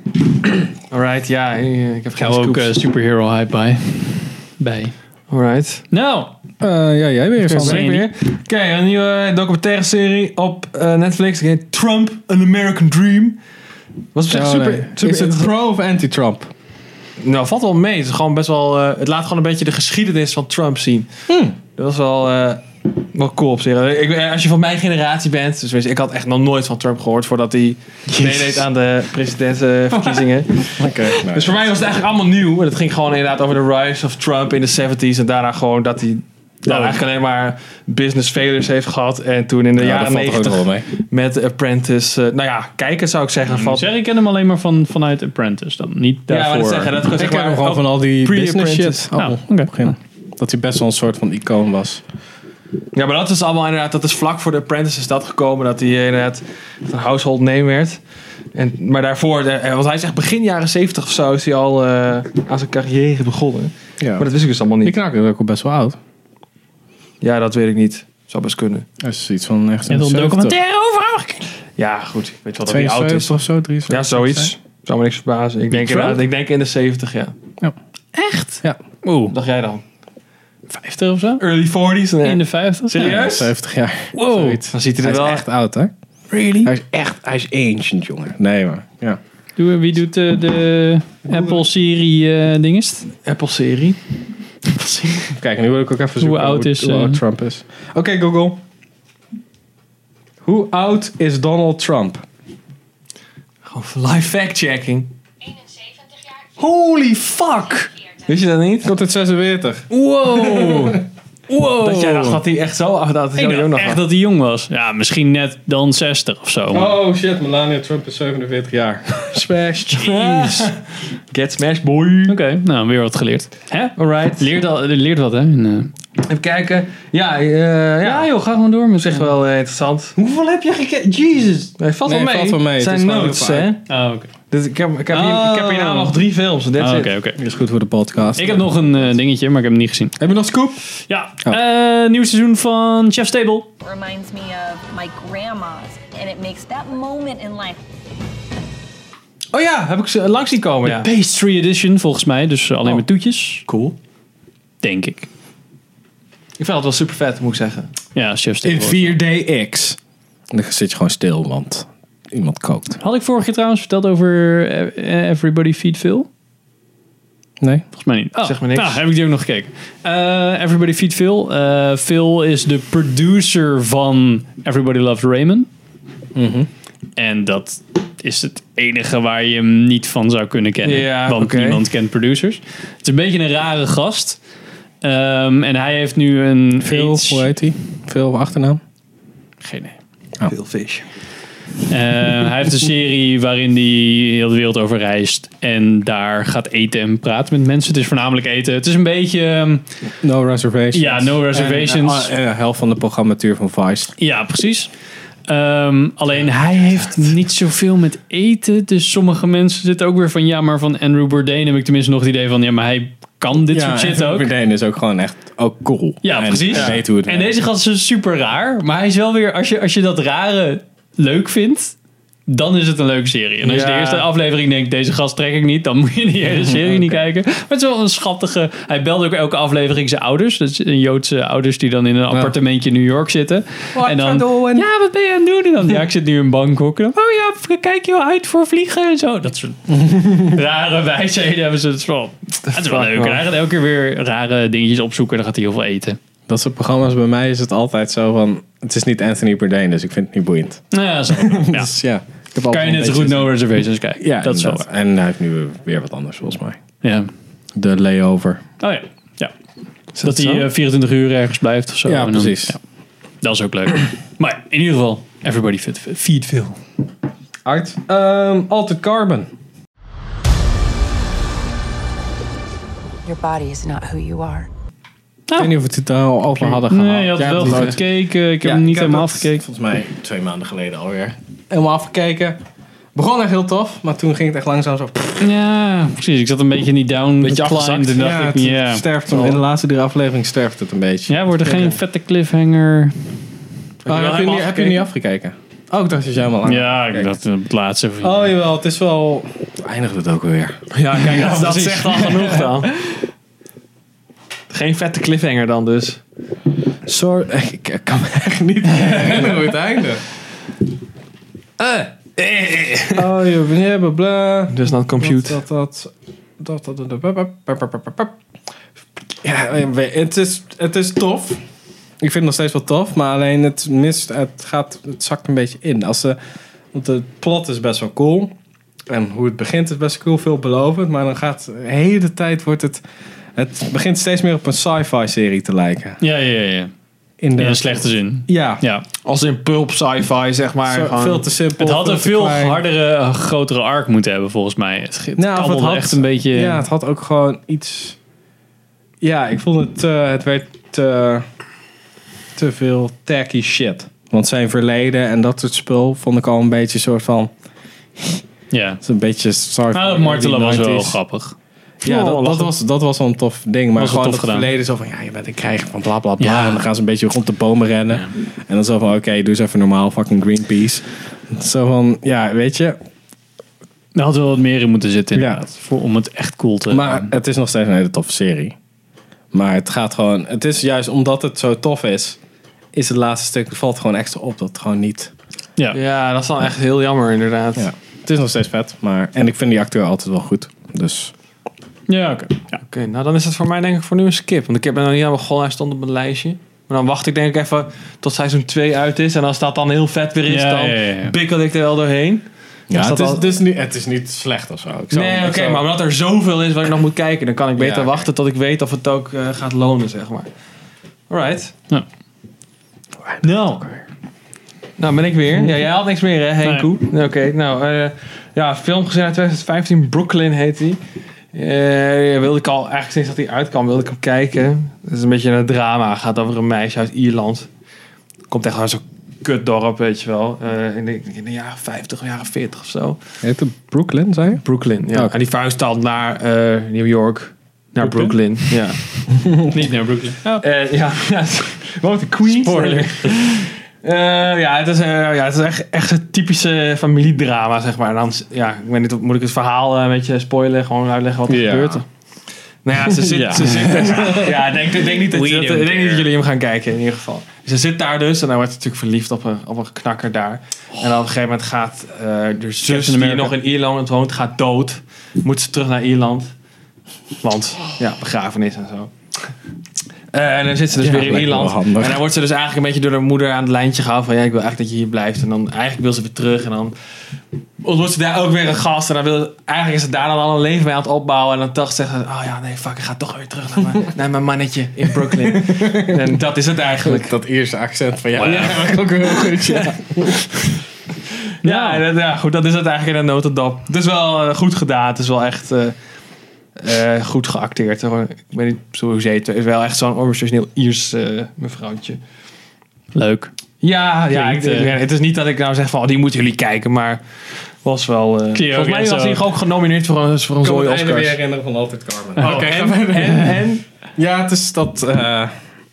Alright, ja. eh, Ik heb Ik geen hou ook scoops. eh, superhero hype bij. bij. Alright. Nou, Eh, ja, jij weer. Sander. Ik weer. Oké, een nieuwe documentaire serie op eh, Netflix. Die heet Trump, An American Dream. Was op zich super... super Oh, is het pro of anti-Trump? Nou, valt wel mee. Het, is gewoon best wel, eh, het laat gewoon een beetje de geschiedenis van Trump zien. Dat was wel, eh, wel cool op zich. Ik, eh, als je van mijn generatie bent... Dus weet je, ik had echt nog nooit van Trump gehoord... voordat hij meedeed aan de presidentsverkiezingen. Oké. nou. Dus voor mij was het eigenlijk allemaal nieuw. Maar dat ging gewoon inderdaad over de rise of Trump in de 70s. En daarna gewoon dat hij nou, Oh. eigenlijk alleen maar business failures heeft gehad. En toen in de jaren 90 mee. met The Apprentice. eh, nou ja, kijken zou ik zeggen. Valt, zeg ik ken hem alleen maar van, vanuit Apprentice dan. Niet ja, maar daarvoor. dat zeggen. Dat Ik zeg ken maar, hem gewoon ook van al die business pre-apprentice. shit. Oh, Nou, oké. Dat hij best wel een soort van icoon was. Ja, maar dat is allemaal inderdaad. Dat is vlak voor The Apprentice is dat gekomen. Dat hij inderdaad een household name werd. En, maar daarvoor, de- eh, want hij is echt begin jaren 70 of zo, is hij al eh, aan zijn carrière begonnen. Ja. Maar dat wist ik dus allemaal die niet. knakker is ook al best wel oud. Ja, dat weet ik niet. Zou best kunnen. Hij is iets van echt Je hebt een 70, een documentaire over hem gekeken. Ja, goed. Ik weet wel dat hij oud is. 72 of zo, 73. Ja, zoiets. Zou me niks verbazen. Ik denk, Trump? inderdaad- ik denk in de 70, ja. Echt? Ja. Oeh, Wat dacht jij dan? 50 of zo? Early 40s? In de 50? Serieus? Ja. 70 jaar. Wow. Zoiets. Dan ziet hij Hij er is wel echt oud, hè? Really? Hij is echt, hij is ancient, jongen. Nee, maar. Ja. Doe, wie doet eh, de Apple-serie eh dinges? Apple-serie. Kijk, nu wil ik ook even zoeken oud is, hoe oud eh, Trump is. Oké, Google. Hoe oud is Donald Trump? Gewoon live fact-checking. Holy fuck! Wist je dat niet? Komt het 46. Wow! wow! Dat jij dacht dat hij echt zo af dat hij Ik zo jong dacht nog echt was. dat hij jong was. Ja, misschien net dan 60 of zo. maar- Oh shit, Melania Trump is 47 jaar. Smash. Jeez. Get smash, boy. Oké, nou, weer wat geleerd. Hè? Alright. Leert, al, leert wat, hè? In, eh, Even kijken. Ja, eh, ja. Ja, joh, ga gewoon door met Zeg wel eh, interessant. Hoeveel heb je gekeken? Jesus. Nee, valt Nee, wel mee. valt wel mee. Het Het zijn is gewoon notes, heel hè? Oh, oké. Dus ik heb, ik heb hier, ik heb hierna Oh. nog drie films. en That's Ah, it. Oké, oké. Dit is goed voor de podcast. Ik heb nog een eh, dingetje, maar ik heb hem niet gezien. Heb je nog scoop? Ja, eh, nieuw seizoen van Chef's Table. reminds me of my grandma's, and it makes that moment in life Oh ja, heb ik ze langs zien komen, ja. Pastry Edition, volgens mij. Dus eh, alleen Oh. maar toetjes. Cool. Denk ik. Ik vond het wel super vet, moet ik zeggen. Ja, Chef's Table. In 4DX. En dan zit je gewoon stil, want iemand kookt. Had ik vorige keer trouwens verteld over eh, eh, Everybody Feed Phil? Nee? Volgens mij niet. Oh, Zeg maar niks. Nou, heb ik die ook nog gekeken. Eh, Everybody Feed Phil. Eh, Phil is de producer van Everybody Loved Raymond. Mhm. En dat is het enige waar je hem niet van zou kunnen kennen. Ja, want oké. niemand kent producers. Het is een beetje een rare gast. Ehm, en hij heeft nu een... Veel, aids- hoe heet hij? Veel achternaam? Geen idee. Veel fish. Eh, hij heeft een serie waarin hij heel de wereld over reist. En daar gaat eten en praat met mensen. Het is voornamelijk eten. Het is een beetje... ehm, No reservations. Ja, no reservations. En, eh, eh, helft van de programmatuur van Vice. Ja, precies. Ehm, alleen hij heeft niet zoveel met eten. Dus sommige mensen zitten ook weer van... Ja, maar van Andrew Bourdain heb ik tenminste nog het idee van... Ja, maar hij kan dit soort shit ook. Verdane is ook gewoon echt ook cool. Ja, En precies. hij weet hoe het en werkt. deze gast is dus super raar. Maar hij is wel weer... Als je, als je dat rare leuk vindt... Dan is het een leuke serie. En als je Ja. de eerste aflevering denkt... Deze gast trek ik niet. Dan moet je die hele serie niet kijken. Maar het is wel een schattige... Hij belde ook elke aflevering zijn ouders. Dat is een Joodse ouders die dan in een appartementje in New York zitten. en dan, Ja, wat ben je aan het doen? En dan, ja, ik zit nu in Bangkok. En dan, oh ja, kijk je wel uit voor vliegen en zo. Dat soort rare wijsheden hebben ze. Het is wel, het is wel leuk. En hij gaat elke keer weer rare dingetjes opzoeken. En dan gaat hij heel veel eten. Dat soort programma's bij mij is het altijd zo van... Het is niet Anthony Bourdain, dus ik vind het niet boeiend. Nou ja, zo. Ja. Dus ja. ik heb Kan altijd je een net zo beetje- goed No Reservations kijken. Ja, dat is wel waar. inderdaad. En hij heeft nu weer wat anders volgens mij. Ja. De layover. Oh ja. ja. Dat zo? hij eh, 24 uur ergens blijft of zo. Ja, En dan- precies. ja. Dat is ook leuk. Maar in ieder geval, everybody fit, feed veel. Art. Ehm Altered Carbon. Your body is not who you are. Ik weet niet of we het totaal over hadden gehad. Nee, je had Jij wel hebt het goed nooit- gekeken. Ik heb Ja, hem niet heb helemaal dat afgekeken. Volgens mij twee maanden geleden alweer. Helemaal afgekeken. Begon echt heel tof, maar toen ging het echt langzaam zo... Ja, precies. Ik zat een beetje in die down Beetje afgezakt. climb. En dacht ja, ik, het ja. sterft in de laatste drie aflevering sterft het een beetje. ja, wordt er geen vette cliffhanger. Oh, heb, je, helemaal niet- heb je niet afgekeken? Oh, ik dacht dat jij helemaal aan. Ja, ik dacht eh, het laatste. van- Oh jawel, het is wel... Eindigt het ook weer. Ja, kijk, dat, dat precies. zegt al genoeg dan. Geen vette cliffhanger dan dus. Sorry, Oh, ik ik kan me echt niet herinneren hoe het Eh, eindigt. Oh je bla bla. Dus dan compute. Dat dat dat dat dat. dat, dat, dat, dat, dat, dat. Ja, ik weet- het is het is tof. Ik vind het nog steeds wel tof, maar alleen het mist, het gaat, het zakt een beetje in. Als ze, want het plot is best wel cool en hoe het begint is best cool, veelbelovend, maar dan gaat de hele tijd wordt het, het begint steeds meer op een sci-fi serie te lijken. Ja, ja, ja. In de In een slechte zin. Ja, Ja. Als in pulp sci-fi, zeg maar. zo- gewoon. veel te simpel. Het had een te veel klein. hardere, eh, grotere arc moeten hebben, volgens mij. Het, het Nou, of het kabbelde had- echt een beetje... Ja, het had ook gewoon iets. Ja, ik vond het. eh, het werd te, te veel tacky shit. Want zijn verleden en dat soort spul vond ik al een beetje soort van. ja. Het is een beetje sorry. Nou, dat martelen was wel grappig. Ja, dat, dat, was, dat was wel een tof ding. Maar Was wel gewoon tof dat gedaan. verleden zo van. Ja, je bent een krijger van bla bla bla. Ja. En dan gaan ze een beetje rond de bomen rennen. En dan zo van: oké, doe eens even normaal, fucking Greenpeace. Zo van: ja, weet je. Er had wel wat meer in moeten zitten, Ja. inderdaad. Voor, om het echt cool Eh, te... Maar het is nog steeds een hele toffe serie. Maar het gaat gewoon. Het is juist omdat het zo tof is. Is het laatste stuk. valt gewoon extra op dat het gewoon niet. ja. Ja, dat is dan echt heel jammer inderdaad. Ja. Het is nog steeds vet. Maar. En ik vind die acteur altijd wel goed. Dus. Ja, oké. Ja. Oké, nou dan is dat voor mij denk ik voor nu een skip. Want ik heb er nog niet aan begonnen, hij stond op mijn lijstje. Maar dan wacht ik denk ik even tot seizoen 2 uit is. En als dat dan heel vet weer is, Ja, dan ja, ja, ja. pikkel ik er wel doorheen. Ja, dat het, is, al- het, is niet, het is niet slecht of zo. Ik zou- Nee, ik oké, zou- maar omdat er zoveel is wat ik nog moet kijken, dan kan ik beter Ja, oké. wachten tot ik weet of het ook eh, gaat lonen, zeg maar. Alright. Nou, Nou, ben ik weer. Ja, jij had niks meer, hè, Henko? Oké, nou, eh, ja, film gezien uit 2015, Brooklyn heet die. Eh, ja, wilde ik al, eigenlijk sinds dat hij uit kwam, wilde ik hem kijken. Het is een beetje een drama, gaat over een meisje uit Ierland. Komt echt uit zo'n kutdorp, weet je wel. Eh, in, de, in de jaren 50, jaren 40 of zo. Heet het Brooklyn, zei je? Brooklyn, ja. Oh, Oké. En die verhuisde dan naar eh, New York, naar Brooklyn. Brooklyn? Ja. niet naar Brooklyn. Ja. Eh, ja, ja. Woont in Queens. Spoiler. Eh, ja, het is, eh, ja, het is echt, echt een typische familiedrama, zeg maar. En Dan, ja, ik weet niet, of- moet ik het verhaal eh, een beetje spoilen? Gewoon uitleggen wat er Ja. gebeurt? Nou ja, ze zit... Ja. Ze zit ja, ik denk, ik denk niet dat, We dat- ik don't denk niet dat care. jullie hem gaan kijken, in ieder geval. Ze zit daar dus en dan wordt ze natuurlijk verliefd op een, op een knakker daar. En dan op een gegeven moment gaat eh de zus die America. nog in Ierland woont, gaat dood. Moet ze terug naar Ierland. Want, ja, begrafenis en zo. Eh, en dan zit ze dus Ja, weer in lijkt me wel Ierland. handig. En dan wordt ze dus eigenlijk een beetje door haar moeder aan het lijntje gehouden van ja, ik wil eigenlijk dat je hier blijft. En dan eigenlijk wil ze weer terug en dan ontmoet ze daar ook weer een gast. En dan wil, eigenlijk is ze daar dan al een leven mee aan het opbouwen. En dan dacht ze, oh ja, nee, fuck, ik ga toch weer terug naar mijn, naar mijn mannetje in Brooklyn. en dat is het eigenlijk. Dat eerste accent van jou. Wow. Ja, dat ook heel goed. Ja. Ja, en dat- ja, goed, dat is het eigenlijk in een notendop. Het is wel eh, goed gedaan. Het is wel echt eh, eh, goed geacteerd. hoor. Ik weet niet zo hoe ze heet. Het is wel echt zo'n origineel Iers eh, mevrouwtje. Leuk. Ja, ja Klinkt, ik- ik- eh, het is niet dat ik nou zeg van oh, die moeten jullie kijken, maar was wel... eh, Cleo volgens mij Genzo. was hij ook genomineerd voor een, voor een Ik kan me zooi het einde Oscars. weer herinneren van Altijd Carmen. Oké, Oh, en, en, en- Ja, het is dat... eh,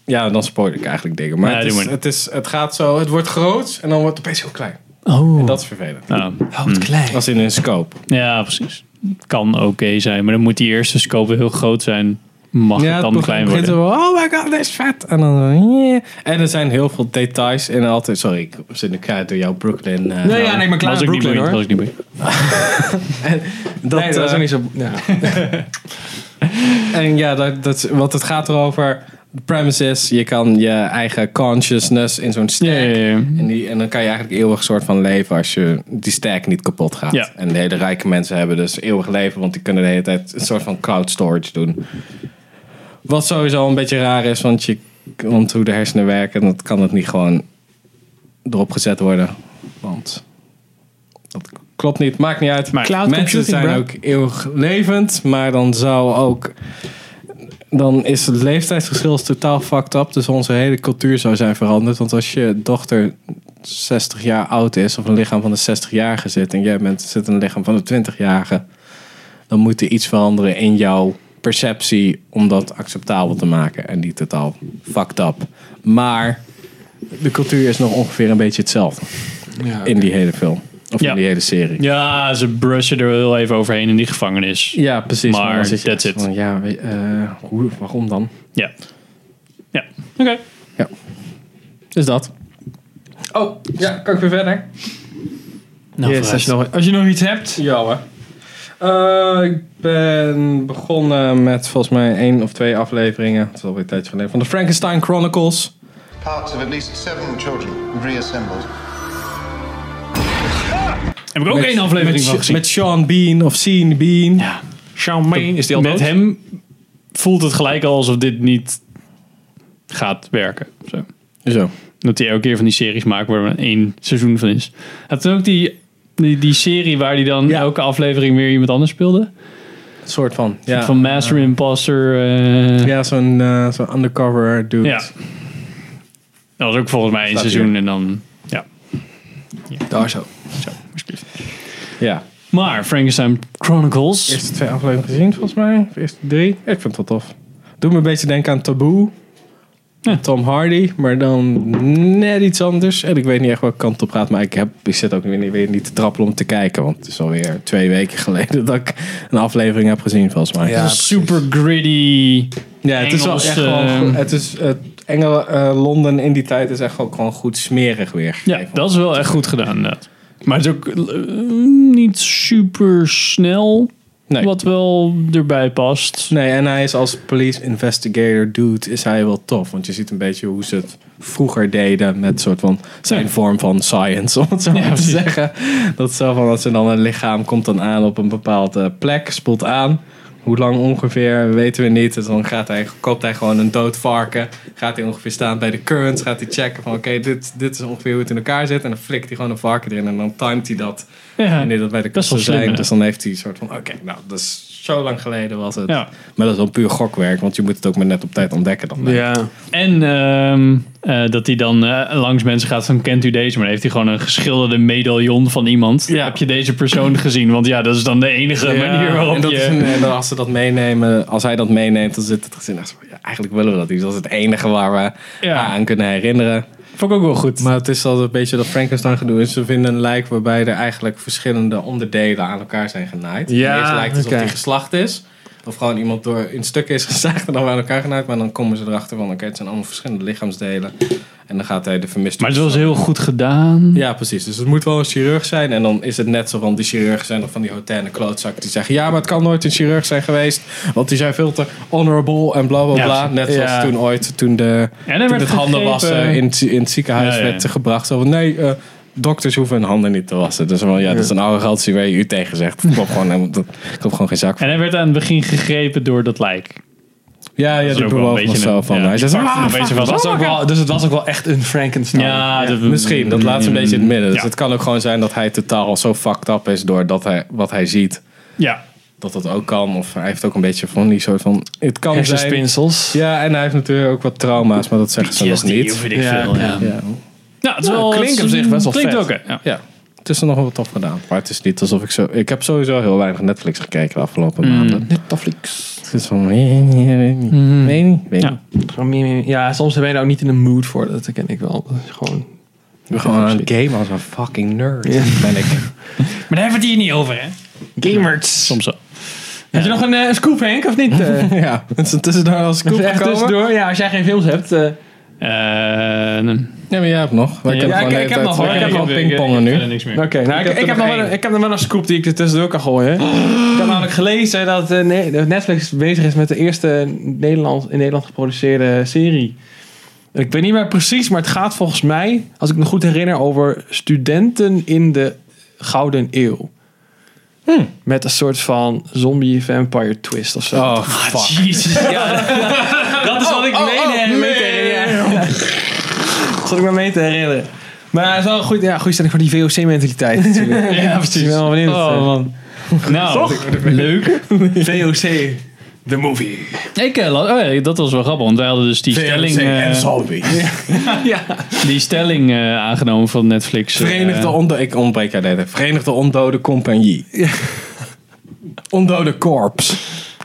ja, dan spoil ik eigenlijk dingen. Maar, Nee, het, doe is, maar. het, is, het gaat zo, het wordt groot en dan wordt het opeens heel klein. Oh. Dat is vervelend. Oh, het klein. Als in een scope. Ja, precies. Kan oké zijn, maar dan moet die eerste scope heel groot zijn. Mag het dan klein worden? oh my god, dit is vet. En, dan, en er zijn heel veel details in altijd. Sorry, ik zit nu keihard door jouw Brooklyn. eh, Nee, ja, nee, maar klein was ik niet Brooklyn bij, hoor. was ik niet bij. dat, nee, dat is eh, ook niet zo... Ja. En ja, dat, dat, is- want het gaat erover. De premise is, je kan je eigen consciousness in zo'n stack. Ja, ja, ja. En, die, en dan kan je eigenlijk eeuwig soort van leven als je die stack niet kapot gaat. Ja. En de hele rijke mensen hebben dus eeuwig leven, want die kunnen de hele tijd een soort van cloud storage doen. Wat sowieso een beetje raar is, want, je, want hoe de hersenen werken, dat kan het niet gewoon erop gezet worden. Want dat klopt niet, maakt niet uit. Maar cloud mensen computing, zijn bro. ook eeuwig levend, maar dan zou ook dan is het leeftijdsverschil is totaal fucked up. Dus onze hele cultuur zou zijn veranderd. Want als je dochter 60 jaar oud is, of een lichaam van de 60-jarige zit, en jij bent, zit in een lichaam van de 20-jarige, dan moet er iets veranderen in jouw perceptie om dat acceptabel te maken. En niet totaal fucked up. Maar de cultuur is nog ongeveer een beetje hetzelfde Ja. in die hele film. Of Ja. in die hele serie. Ja, ze brushen er heel even overheen in die gevangenis. Ja. Ja, precies. Maar dan zit je that's echt it. van, Ja, we- eh, hoe, waarom dan? Ja. Oké. Ja. Dus dat. Oh, ja, kan ik weer verder? Nou, Yes, als, je nog, als je nog iets hebt... Ja hoor. Eh, ik ben begonnen met volgens mij één of twee afleveringen. Het is alweer een tijdje geleden. Van de Frankenstein Chronicles. Parts of at least seven children reassembled. Heb ik ook één aflevering met, van gezien. Met Sean Bean of Sean Bean. ja. Sean Bean, is die al met dood? hem voelt het gelijk al alsof dit niet gaat werken. Zo. Zo. Dat hij elke keer van die series maakt waar er één seizoen van is. Had toen ook die, die, die serie waar hij dan Ja. elke aflevering weer iemand anders speelde? Een soort van. Ja, Van Master Imposter. eh, ja zo'n eh, zo'n undercover dude. Ja. Dat was ook volgens mij één Staat seizoen hier. en dan... Ja, Daar zo. zo. alsjeblieft. Ja. Maar Frankenstein Chronicles. Eerste twee afleveringen gezien volgens mij. Of eerste drie. Ik vind het wel tof. Doet me een beetje denken aan Taboe. Ja. Tom Hardy, maar dan net iets anders. En ik weet niet echt welke kant op gaat, maar ik, heb, ik zit ook weer niet, weer niet te trappelen om te kijken. Want het is alweer twee weken geleden dat ik een aflevering heb gezien, volgens mij. Ja, Een super gritty. Ja, het is wel echt Engels, gewoon. ehm, goed. Het is, het Engel, eh, Londen in die tijd is echt ook gewoon goed smerig weer. Ja, dat is wel echt goed gedaan inderdaad. Maar het is ook eh, niet super snel. Nee. Wat wel erbij past. Nee, en hij is als police investigator dude is hij wel tof. Want je ziet een beetje hoe ze het vroeger deden met soort van zijn Ja. vorm van science, om het zo maar te precies. zeggen. Dat is zo van als er dan een lichaam komt dan aan op een bepaalde plek, spoelt aan. Hoe lang ongeveer, weten we niet. Dus dan gaat hij, koopt hij gewoon een dood varken. Gaat hij ongeveer staan bij de currents. Gaat hij checken van oké, dit, dit is ongeveer hoe het in elkaar zit. En dan flikt hij gewoon een varken erin. En dan timet hij dat. Ja. Wanneer dat bij de Best wel cursus slim, zijn. hè? Dus dan heeft hij een soort van oké, nou dat is zo lang geleden was het. Ja. Maar dat is wel puur gokwerk, want je moet het ook maar net op tijd ontdekken dan. Ja. En ehm, eh, dat hij dan eh, langs mensen gaat van kent u deze? Maar dan heeft hij gewoon een geschilderde medaillon van iemand. Ja. Heb je deze persoon gezien? Want ja, dat is dan de enige Ja, manier waarop En, dat je... is een- en dan als ze dat meenemen, als hij dat meeneemt, dan zit het gezin echt zo van, ja, eigenlijk willen we dat niet. Dat is het enige waar we Ja. haar aan kunnen herinneren. Vond ik ook wel goed. Maar het is al een beetje dat Frankenstein gedoe is. Ze vinden een lijk waarbij er eigenlijk verschillende onderdelen aan elkaar zijn genaaid. Ja, Eerst lijkt het alsof oké. die geslacht is. Of gewoon iemand door in stukken is gezaagd en dan weer aan elkaar genaaid. Maar dan komen ze erachter van, oké, het zijn allemaal verschillende lichaamsdelen. En dan gaat hij de vermiste... Maar het was heel goed gedaan. Ja, precies. Dus het moet wel een chirurg zijn. En dan is het net zo van die chirurgen zijn of van die hotellen klootzak die zeggen... Ja, maar het kan nooit een chirurg zijn geweest. Want die zijn veel te honorable en bla bla Ja, bla. precies. Net zoals Ja. toen ooit, toen, de, En toen het handen wassen in, het- in het ziekenhuis Ja, ja. werd gebracht. Zo van, nee, eh, dokters hoeven hun handen niet te wassen. Dus van, ja, dat is een arrogantie waar je u tegen zegt. Dat klopt gewoon, helemaal- dat klopt gewoon geen zak En van. hij werd aan het begin gegrepen door dat lijk. Ja, ja die ook wel een bewoog nog beetje zo een- van. ja, hij die zei, pakt "Ah, een beetje fuck, van- wat was is ook er?" wel, dus het was ook wel echt een Frankenstein. Ja, dat- Misschien, dat laat ze een beetje in het midden. Dus Ja. het kan ook gewoon zijn dat hij totaal zo fucked up is doordat hij wat hij ziet. Ja. Dat dat ook kan. Of hij heeft ook een beetje van die soort van. Het kan zijn. hersenspinsels. Ja, en hij heeft natuurlijk ook wat trauma's, maar dat zeggen ze nog niet. Ja, Ja, veel, ja. Ja. Nou, het is wel, klinkt het is- op zich best wel klinkt vet. ook, hè. ja. ja, het is er nog wel tof gedaan. Maar het is niet alsof ik zo. Ik heb sowieso heel weinig Netflix gekeken de afgelopen maanden. Mm. Netflix. Mm. Het is van. Weet niet, weet niet. Weet niet, weet Ja. niet. Ja, soms ben je daar ook niet in de mood voor. Dat ken ik wel. Dat is gewoon... Ik ben gewoon aan het gamen als een fucking nerd. Ja. Ben ik. Maar daar hebben we het hier niet over, hè? Gamers. Soms wel. Heb je nog een eh, scoop, Henk, of niet? eh Ja, het is er tussendoor als scoop echt gekomen. tussendoor. Ja, als jij geen films hebt. eh, Eh, Ja, maar jij hebt nog. Wij Ja, kunnen ik- gewoon de ik hele heb tijd- nog, hoor. wij Ik heb kunnen nog. gewoon pingpongen nu. niks meer. Oké, nou, ik, ik, heb nog wel een, ik heb nog wel een scoop die ik er tussendoor kan gooien. Ik heb namelijk gelezen dat eh, Ne- dat Netflix bezig is met de eerste Nederland, in Nederland geproduceerde serie. En Ik weet niet meer precies, maar het gaat volgens mij, als ik me goed herinner, over studenten in de Gouden Eeuw. Met een soort van zombie-vampire twist of zo. Oh, fuck. Jezus. Dat is wat Oh, ik mee, mee, te herinneren. Ja. Dat zat ik me mee te herinneren. Maar het is wel een goede, ja, goede stelling voor die VOC-mentaliteit natuurlijk. Ja, Ik precies. ben wel benieuwd. eh. Oh, man. Nou, leuk. VOC, the movie. Ik, eh, la- oh ja, dat was wel grappig, want wij hadden dus die stelling, eh, Ja. die stelling eh, aangenomen van Netflix. eh, Verenigde Ondoden... Ik ontbreek haar net. Verenigde Ondode Compagnie. Ondode Corps.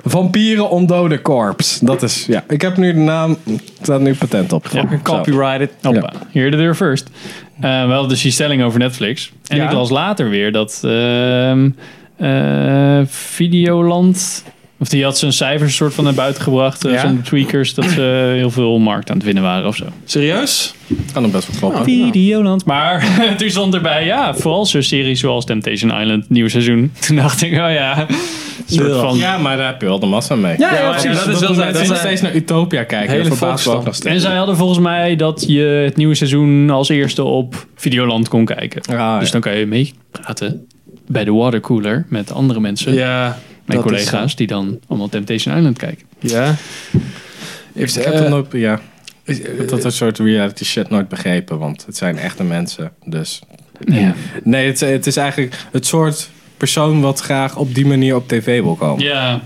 Vampieren Ondode Corps. Dat is... Ja, ik heb nu de naam... Er staat nu patent op. Ja, Zo. Copyrighted. Hoppa, hier de deur first. Eh, we hadden dus die stelling over Netflix. En Ja. ik las later weer dat ehm, eh, Videoland... Of die had zijn cijfers soort van naar buiten gebracht. eh, Ja. Zonder tweakers. Dat ze heel veel markt aan het winnen waren of zo. Serieus? Kan hem best wel kloppen. Videoland. Oh. Maar toen stond erbij, ja, vooral zo'n series zoals Temptation Island, nieuw seizoen. Toen dacht ik, oh ja, een soort van... Ja, maar daar heb je wel de massa mee. Ja, ja, precies. Dat is wel zijn- mensen dat nog zijn- steeds naar Utopia kijken. Hele dat verbaast me ook volksstand. nog En steeds. zij hadden volgens mij dat je het nieuwe seizoen als eerste op Videoland kon kijken. Ah, ja. Dus dan kan je meepraten bij de watercooler met andere mensen. Ja. mijn dat collega's die dan allemaal Temptation Island kijken. is- Ja. Heeft, eh, Ik heb dan ook, ja. Ik heb dat soort reality shit nooit begrepen, want het zijn echte mensen. Dus Ja. nee, het, het is eigenlijk het soort persoon wat graag op die manier op tv wil komen. Ja.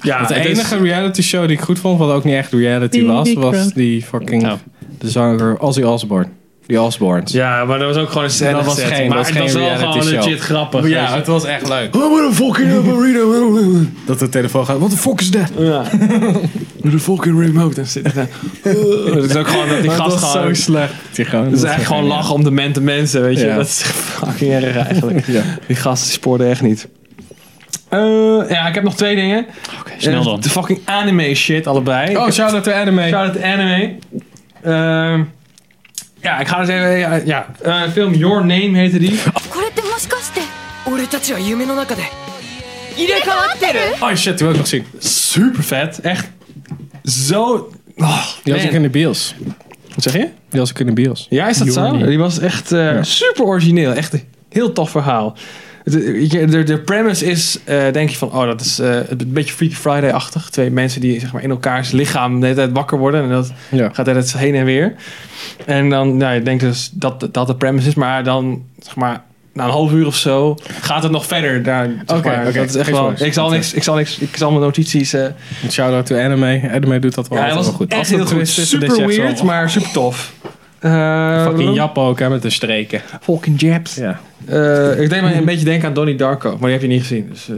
ja, De het is- enige reality show die ik goed vond, wat ook niet echt reality was, was die fucking Oh. de zanger Ozzy Osbourne. Die Osbournes. Ja, maar dat was ook gewoon een scène Dat was gezet. geen- maar dat was het was geen wel reality gewoon show. legit grappig. Oh Ja, het was echt leuk. Oh, Dat de telefoon gaat. What the fuck is that? Met een fucking remote en zitten. Het is ook gewoon dat die Maar het gast was gewoon... zo slecht. Die gewoon- Het is dat was echt gewoon geniaal. lachen om demente mensen, weet je. Ja. Dat is echt fucking erg eigenlijk. Ja. Die gast die spoorde echt niet. Eh, ja, ik heb nog twee dingen. snel Eh, dan. De fucking anime shit allebei. Oh, shout out to anime. Shout-out anime. Ehm, ja, ik ga dus even... Ja, ja. Eh, film Your Name heette die. Oh, これってもしかして俺たちは夢の中で入れ替わってる Oh shit, die wil ik nog zien. Super vet. Echt zo... Oh, Die was man. ik in de bios. Wat zeg je? Die was ik in de bios. Ja, is dat Your zo? Name. Die was echt eh, super origineel. Echt een heel tof verhaal. Het- weet je, De, de premise is, eh, denk je van, oh, dat is eh, een beetje Freaky Friday-achtig. Twee mensen die zeg maar, in elkaars lichaam de hele tijd wakker worden. En dat Ja. gaat het heen en weer. En dan, nou, je denkt dus dat dat de premise is. Maar dan, zeg maar, na een half uur of zo, gaat het nog verder. Daar, zeg Oké, maar, oké. dat is echt Geen wel, spoilers. ik zal niks, ik zal niks, ik zal mijn notities... eh, Shout out to anime. Anime doet dat wel ja, hij altijd was wel goed. echt Als het heel goed. twist is, dan Super is hij echt zo, weird, oh, maar super tof. Eh, Fucking Jap ook, hè, met de streken. Fucking Japs. Ja. Eh, ik deed me een beetje denken aan Donnie Darko, maar die heb je niet gezien. Dus, eh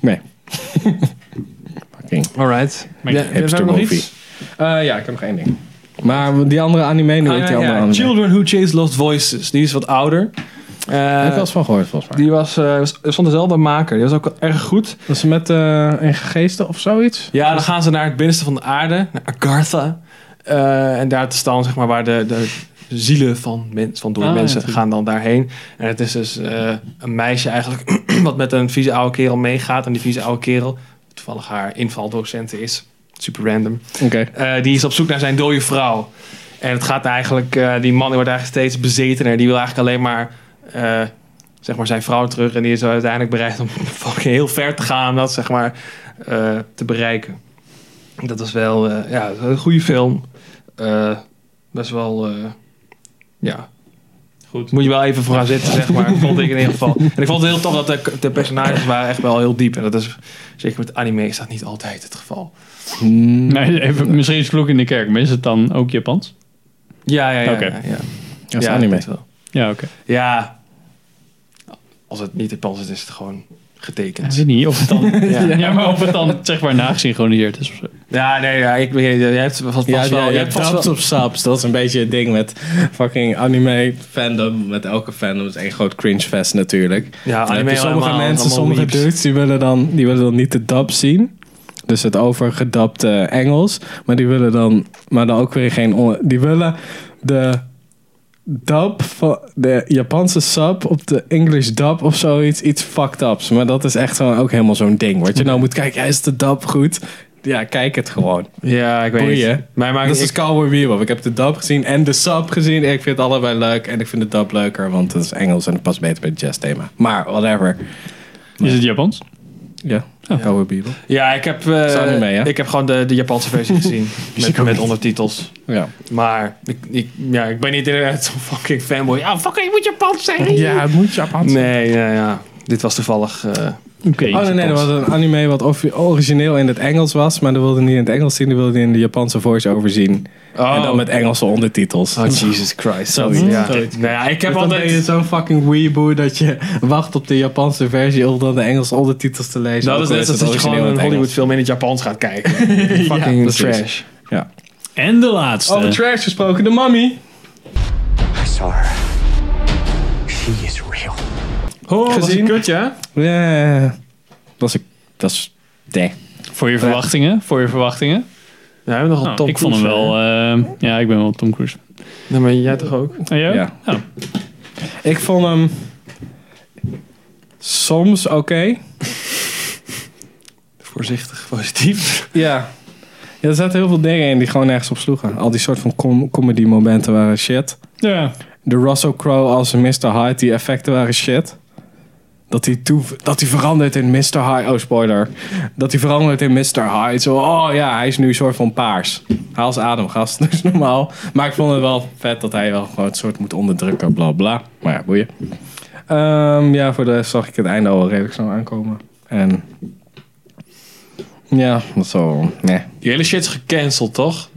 Nee. Fucking alright. Maar Ja, ik- hebben we nog movie. iets? Eh, ja, ik heb nog één ding. Maar die andere anime, nu Ah, heet die ja, andere ja, anime. Children Who Chase Lost Voices. Die is wat ouder. Eh, Heb ik wel eens van gehoord, volgens mij. die was, eh, was van dezelfde maker. Die was ook wel erg goed. Dat is met eh, een geesten of zoiets? Ja, dan gaan ze naar het binnenste van de aarde, naar Agartha. Eh, en daar is dan zeg maar waar de, de zielen van, mens, van door Ah, ja, mensen natuurlijk. gaan dan daarheen. En het is dus eh, een meisje eigenlijk wat met een vieze oude kerel meegaat. En die vieze oude kerel, toevallig haar invaldocenten is. Super random. Oké. Eh, die is op zoek naar zijn dode vrouw. En het gaat eigenlijk, eh, die man die wordt eigenlijk steeds bezetener. Die wil eigenlijk alleen maar, eh, zeg maar zijn vrouw terug. En die is uiteindelijk bereid om fucking heel ver te gaan om dat zeg maar eh, te bereiken. Dat was wel eh, ja, een goede film. Eh, best wel, eh, ja. Goed. Moet je wel even voor gaan zitten, zeg maar. vond ik in ieder geval. En ik vond het heel tof dat de, de personages waren echt wel heel diep. En dat is, zeker met anime is dat niet altijd het geval. Nee, even, misschien is Vloek in de Kerk, maar is het dan ook Japans? Ja, ja, ja. Oké. ja, ja. Dat is Ja, anime. dat wel. Ja, oké. Ja. Als het niet Japans is, is het gewoon Ik getekend. weet niet of het dan... Ja. ja. maar of het dan zeg maar nagesynchroniseerd is of zo. Ja, nee, ja, ik weet Jij hebt vast Ja, wel... ja, jij ja, hebt vast wel- dubs op subs. Dat is een beetje het ding met fucking anime fandom. Met elke fandom is één groot cringe fest natuurlijk. Ja, En anime heb je sommige allemaal- mensen, allemaal sommige weeps. dudes, die willen, dan, die willen dan niet de dub zien. Dus het overgedubte Engels. Maar die willen dan, maar dan ook weer geen... on- Die willen de dub van de Japanse sub op de English dub of zoiets. Iets fucked ups. Maar dat is echt gewoon ook helemaal zo'n ding. Wat je nou moet kijken, ja, is de dub goed? Ja, kijk het gewoon. Ja, ik weet Boeien. niet. Maar, maar dat ik- is dus Cowboy Bebop. Ik heb de dub gezien en de sub gezien. Ik vind het allebei leuk. En ik vind de dub leuker, want het is Engels en het past beter bij het jazzthema. Maar whatever. Is het Japans? Ja, Cowboy Bebop. Ja, ik heb, eh, Is anime, hè? ik heb gewoon de, de Japanse versie gezien. met, met ondertitels. Ja. Maar ik, ik, ja, ik ben niet inderdaad zo'n fucking fanboy. Ah, fucking, ik moet Japans zijn. het moet Japans. Nee, ja, ja. Dit was toevallig... eh, Oké. Oh nee, nee, er was een anime wat of- origineel in het Engels was, maar dat wilde niet in het Engels zien, dat wilde in de Japanse voice-over zien. Oh. En dan met Engelse ondertitels. Oh, Jesus Christ. Zoiets, Ja. zoiets. Nou ja, ik heb Dus dan ben je altijd... zo'n fucking weeboe dat je wacht op de Japanse versie om dan de Engelse ondertitels te lezen. Dat Ook is al net als dat je het origineel gewoon een in het Engels. Hollywood film in het Japans gaat kijken. Ja, fucking precies. trash. Ja. En de Oh, laatste. eh, Over trash gesproken, de mummy. I saw her. She is real. Oh, was Gezien? een kutje, hè? Ja, dat is... Dat is nee. Voor je verwachtingen. Voor je verwachtingen. Ja, we hebben nog een Nou, Oh, Tom ik vond hem Cruise, wel... hè? eh, ja, ik ben wel Tom Cruise. Nee, maar jij toch ook? En jij ook? Ja. Oh. Ik vond hem... Soms oké. Voorzichtig, positief. Ja. ja. Er zaten heel veel dingen in die gewoon nergens op sloegen. Al die soort van com- comedy momenten waren shit. Ja. De Russell Crowe als Mr. Hyde, die effecten waren shit. Dat hij, toe, dat hij verandert in Mr. Hyde. Oh, spoiler. Dat hij verandert in Mr. Hyde. Zo, oh ja, hij is nu een soort van paars. Hij is ademgast, dus normaal. Maar ik vond het wel vet dat hij wel gewoon een soort moet onderdrukken, bla bla. Maar ja, boeien. Ehm, ja, voor de rest zag ik het einde al wel redelijk snel aankomen. En. Ja, dat zo. Nee. Die hele shit is gecanceld, toch?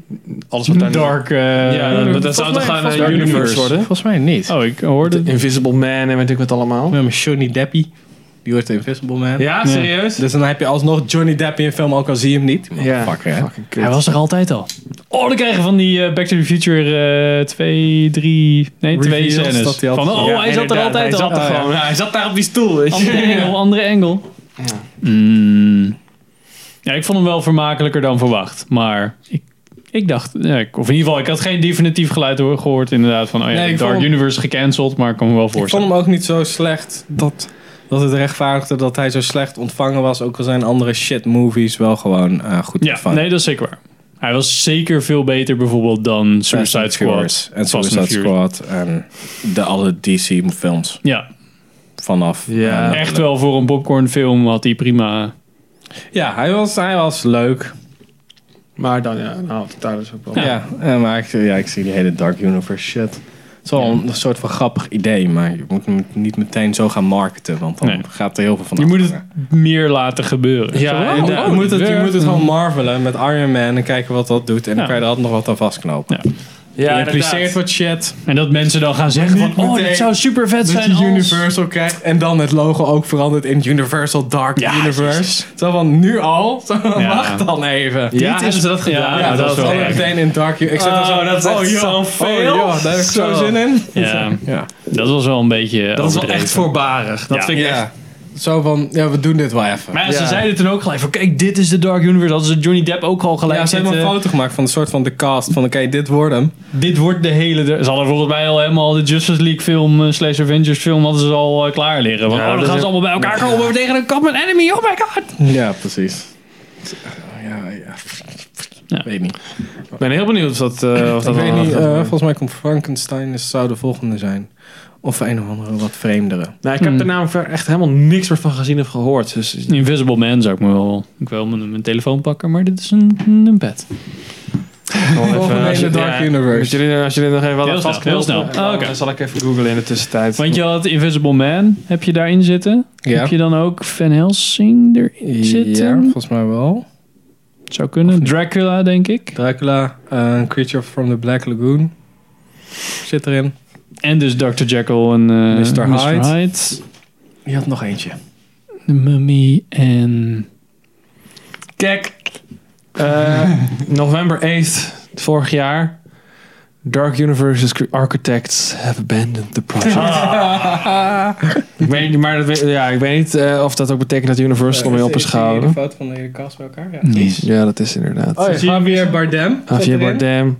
Alles wat daar nu- Dark... eh, Ja, dat- Volgens dat, zou toch mij- Oh, gaan volgens een mij- universe worden? Volgens mij niet. Oh, ik hoorde... De Invisible Man en weet ik wat allemaal. Met mijn Johnny Deppy. Die wordt de Invisible Man. Ja, serieus? Dus dan heb je alsnog Johnny Depp in een film, ook al zie je hem niet. Ja. Fucker, hè? Fucking kut. Hij was er altijd al. Oh, dan krijgen we van die eh, Back to the Future 2, 3, nee, twee Reveals scènes. dat hij altijd- Van, oh, Ja, hij zat er inderdaad, altijd hij al. Zat er Oh, ja. gewoon, ja, Hij zat daar op die stoel, weet je. Andere engel, andere engel. Mm. Ja, ik vond hem wel vermakelijker dan verwacht. Maar ik, ik dacht, ja, ik- of in ieder geval, ik had geen definitief geluid hoor- gehoord inderdaad van, oh ja, Nee, ik Dark vond hem- Universe gecanceld, maar ik kan me wel Ik vond voorstellen. hem ook niet zo slecht dat, dat het rechtvaardigde dat hij zo slecht ontvangen was. Ook al zijn andere shit movies wel gewoon eh, goed Ja, ontvangen. nee, dat is zeker waar. Hij was zeker veel beter bijvoorbeeld dan Fast Suicide and Furious Squad. En Fast and Suicide Furious. Squad en de alle DC films Ja, vanaf. Ja. eh, echt wel voor een popcornfilm had hij prima... Ja, hij was, hij was leuk. Maar dan, ja, nou, daar is ook wel. Ja, eh, maar ik, ja, ik zie die hele Dark Universe shit. Het is wel een, soort van grappig idee, maar je moet hem niet meteen zo gaan marketen, want dan Nee. gaat er heel veel van Je af. moet het meer laten gebeuren. Ja, Zo, oh, inderdaad. oh, eh, je, moet het, je werkt. moet het gewoon marvelen met Iron Man en kijken wat dat doet. En dan Ja. kan je er altijd nog wat aan vastknopen. ja je impliceert inderdaad. wat shit. En dat mensen dan gaan zeggen Niet van, oh, meteen dit zou super vet Dat zijn als... je Universal krijgt en dan het logo ook verandert in Universal Dark Ja, Universe. jezus. Zo van nu al? Zo van, Ja. Wacht dan even. Ja, Dit hebben ze dat gedaan? Ja, Ja, dat, dat is was wel wel erg. meteen in Dark Universe. Oh, dat is echt joh. zo'n Oh, veel. joh, daar heb ik zo Zo. zin in. Ja, Ja. dat was wel een beetje Dat is wel overdreven. echt voorbarig. Dat Ja. vind ik echt. Ja. Zo van, ja, we doen dit wel even. Maar ja, ze Ja. zeiden toen ook gelijk van, kijk, dit is de Dark Universe. Hadden ze Johnny Depp ook al gelijk ja, ze hebben een zitten. eh, foto gemaakt van een soort van de cast. Van oké, dit wordt hem. Dit wordt de hele... Ze hadden volgens mij al helemaal de Justice League film eh, slash Avengers film hadden ze al eh, klaar liggen. Want Ja, oh, dan dat gaan is- ze allemaal bij elkaar komen tegen een common enemy. Oh my god! Ja, precies. Ja, ja. Ja. Weet niet. Ik ben heel benieuwd of dat, eh, of dat Ik weet wel- niet, eh, volgens mij komt Frankenstein is, zou de volgende zijn. Of een of andere wat vreemdere. Nou, ik heb daarna ver- echt helemaal niks meer van gezien of gehoord. Dus Invisible Man zou ik me wel... Ik wil mijn, mijn telefoon pakken, maar dit is een, een bed. Gewoon Algemene als je- Dark Universe. Als jullie, als jullie nog even wel Heel snel, vastknelt, heel snel. dan- Ah, oké. Dan zal ik even googlen in de tussentijd. Want je had Invisible Man, heb je daarin zitten? Ja. Heb je dan ook Van Helsing erin Ja, zitten? volgens mij wel. Zou kunnen. Dracula, denk ik. Dracula, eh, Creature from the Black Lagoon zit erin. En dus Dr. Jekyll en eh Mr. Mr. Hyde. Hyde. Je had nog eentje. De Mummy en... Kijk. Eh, november 8th, vorig jaar. Dark Universe's cre- architects have abandoned the project. ik weet niet, maar dat weet- ja, ik weet niet eh, of dat ook betekent dat Universal hem weer op is Een gehouden. foto van de hele cast bij elkaar. Ja. Ja, dat is inderdaad. Ah, Oh, ja. Javier Bardem. zat Javier erin. Bardem,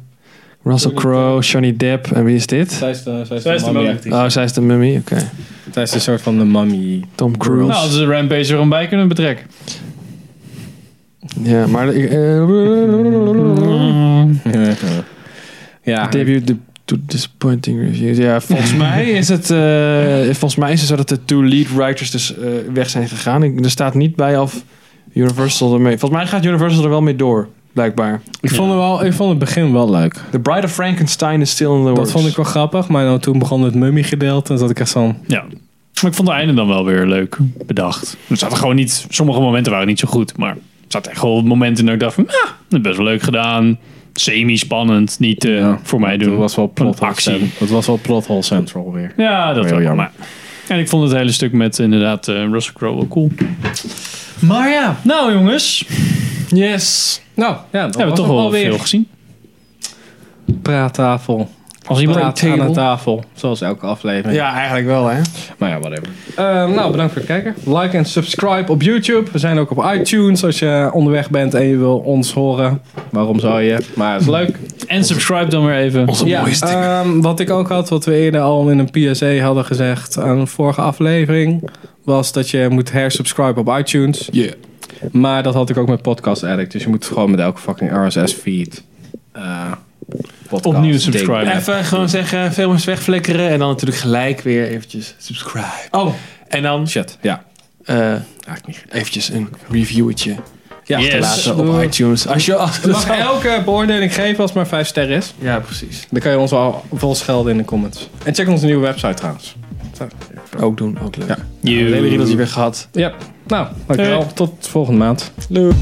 Russell Crowe, Johnny Depp. En wie is dit? Zij is de, zij is Zij is de de mummy. mummy. Oh, zij is de mummy. Oké. Zij is Ah. een soort van de mummy. Tom Cruise. Nou, hadden ze Rampage er gewoon bij kunnen betrekken. Ja, maar... ik- eh, ja. Debut de, to disappointing reviews. Ja, volgens mij is het, eh, volgens mij is het zo dat de two lead writers dus eh, weg zijn gegaan. Ik, er staat niet bij of Universal ermee. Volgens mij gaat Universal er wel mee door, blijkbaar. Ik, vond het wel, ik vond het begin wel leuk. The Bride of Frankenstein is still in the works. Dat vond ik wel grappig, maar nou, toen begon het mummy gedeelte en zat ik echt van... Ja. Maar ik vond het einde dan wel weer leuk bedacht. Er zaten gewoon niet... Sommige momenten waren niet zo goed, maar... Er zaten echt wel momenten dat ik dacht van... Ah, dat is best wel leuk gedaan. Semi-spannend. Niet eh, voor mij doen. Dat was wel plot Een hole actie. cent- Dat was wel plot hole central weer. Ja, dat Heel wel. jammer. Maar. En ik vond het hele stuk met inderdaad eh, Russell Crowe wel cool. Maar ja, nou jongens. Yes. Nou, ja, dat hebben we toch wel veel gezien. praattafel. Als iemand Praat aan de tafel, zoals elke aflevering. Ja, eigenlijk wel, hè. Nou Maar ja, whatever. Eh, nou, bedankt voor het kijken. Like en subscribe op YouTube. We zijn ook op iTunes als je onderweg bent en je wil ons horen. Waarom zou je? Maar het is leuk. En subscribe dan weer even. Ja, ehm, wat ik ook had, wat we eerder al in een PSA hadden gezegd aan een vorige aflevering, was dat je moet hersubscriben op iTunes. Yeah. Maar dat had ik ook met Podcast Addict. Dus je moet gewoon met elke fucking RSS-feed eh podcast Opnieuw ding. subscriben. Even gewoon zeggen, films wegflikkeren. En dan natuurlijk gelijk weer eventjes subscribe. Oh, En dan shit. Ja, eh, eigenlijk niet. eventjes een reviewetje Ja, Yes. laten op iTunes. Als je... Als, Je mag elke beoordeling geven als het maar 5 sterren is. ja, precies. Dan kan je ons al vol schelden in de comments. En check onze nieuwe website trouwens. Ook doen, ook leuk. Ja. De hele riedeltje weer gehad. Ja, nou, dankjewel. Hey. Tot volgende maand. Leuk.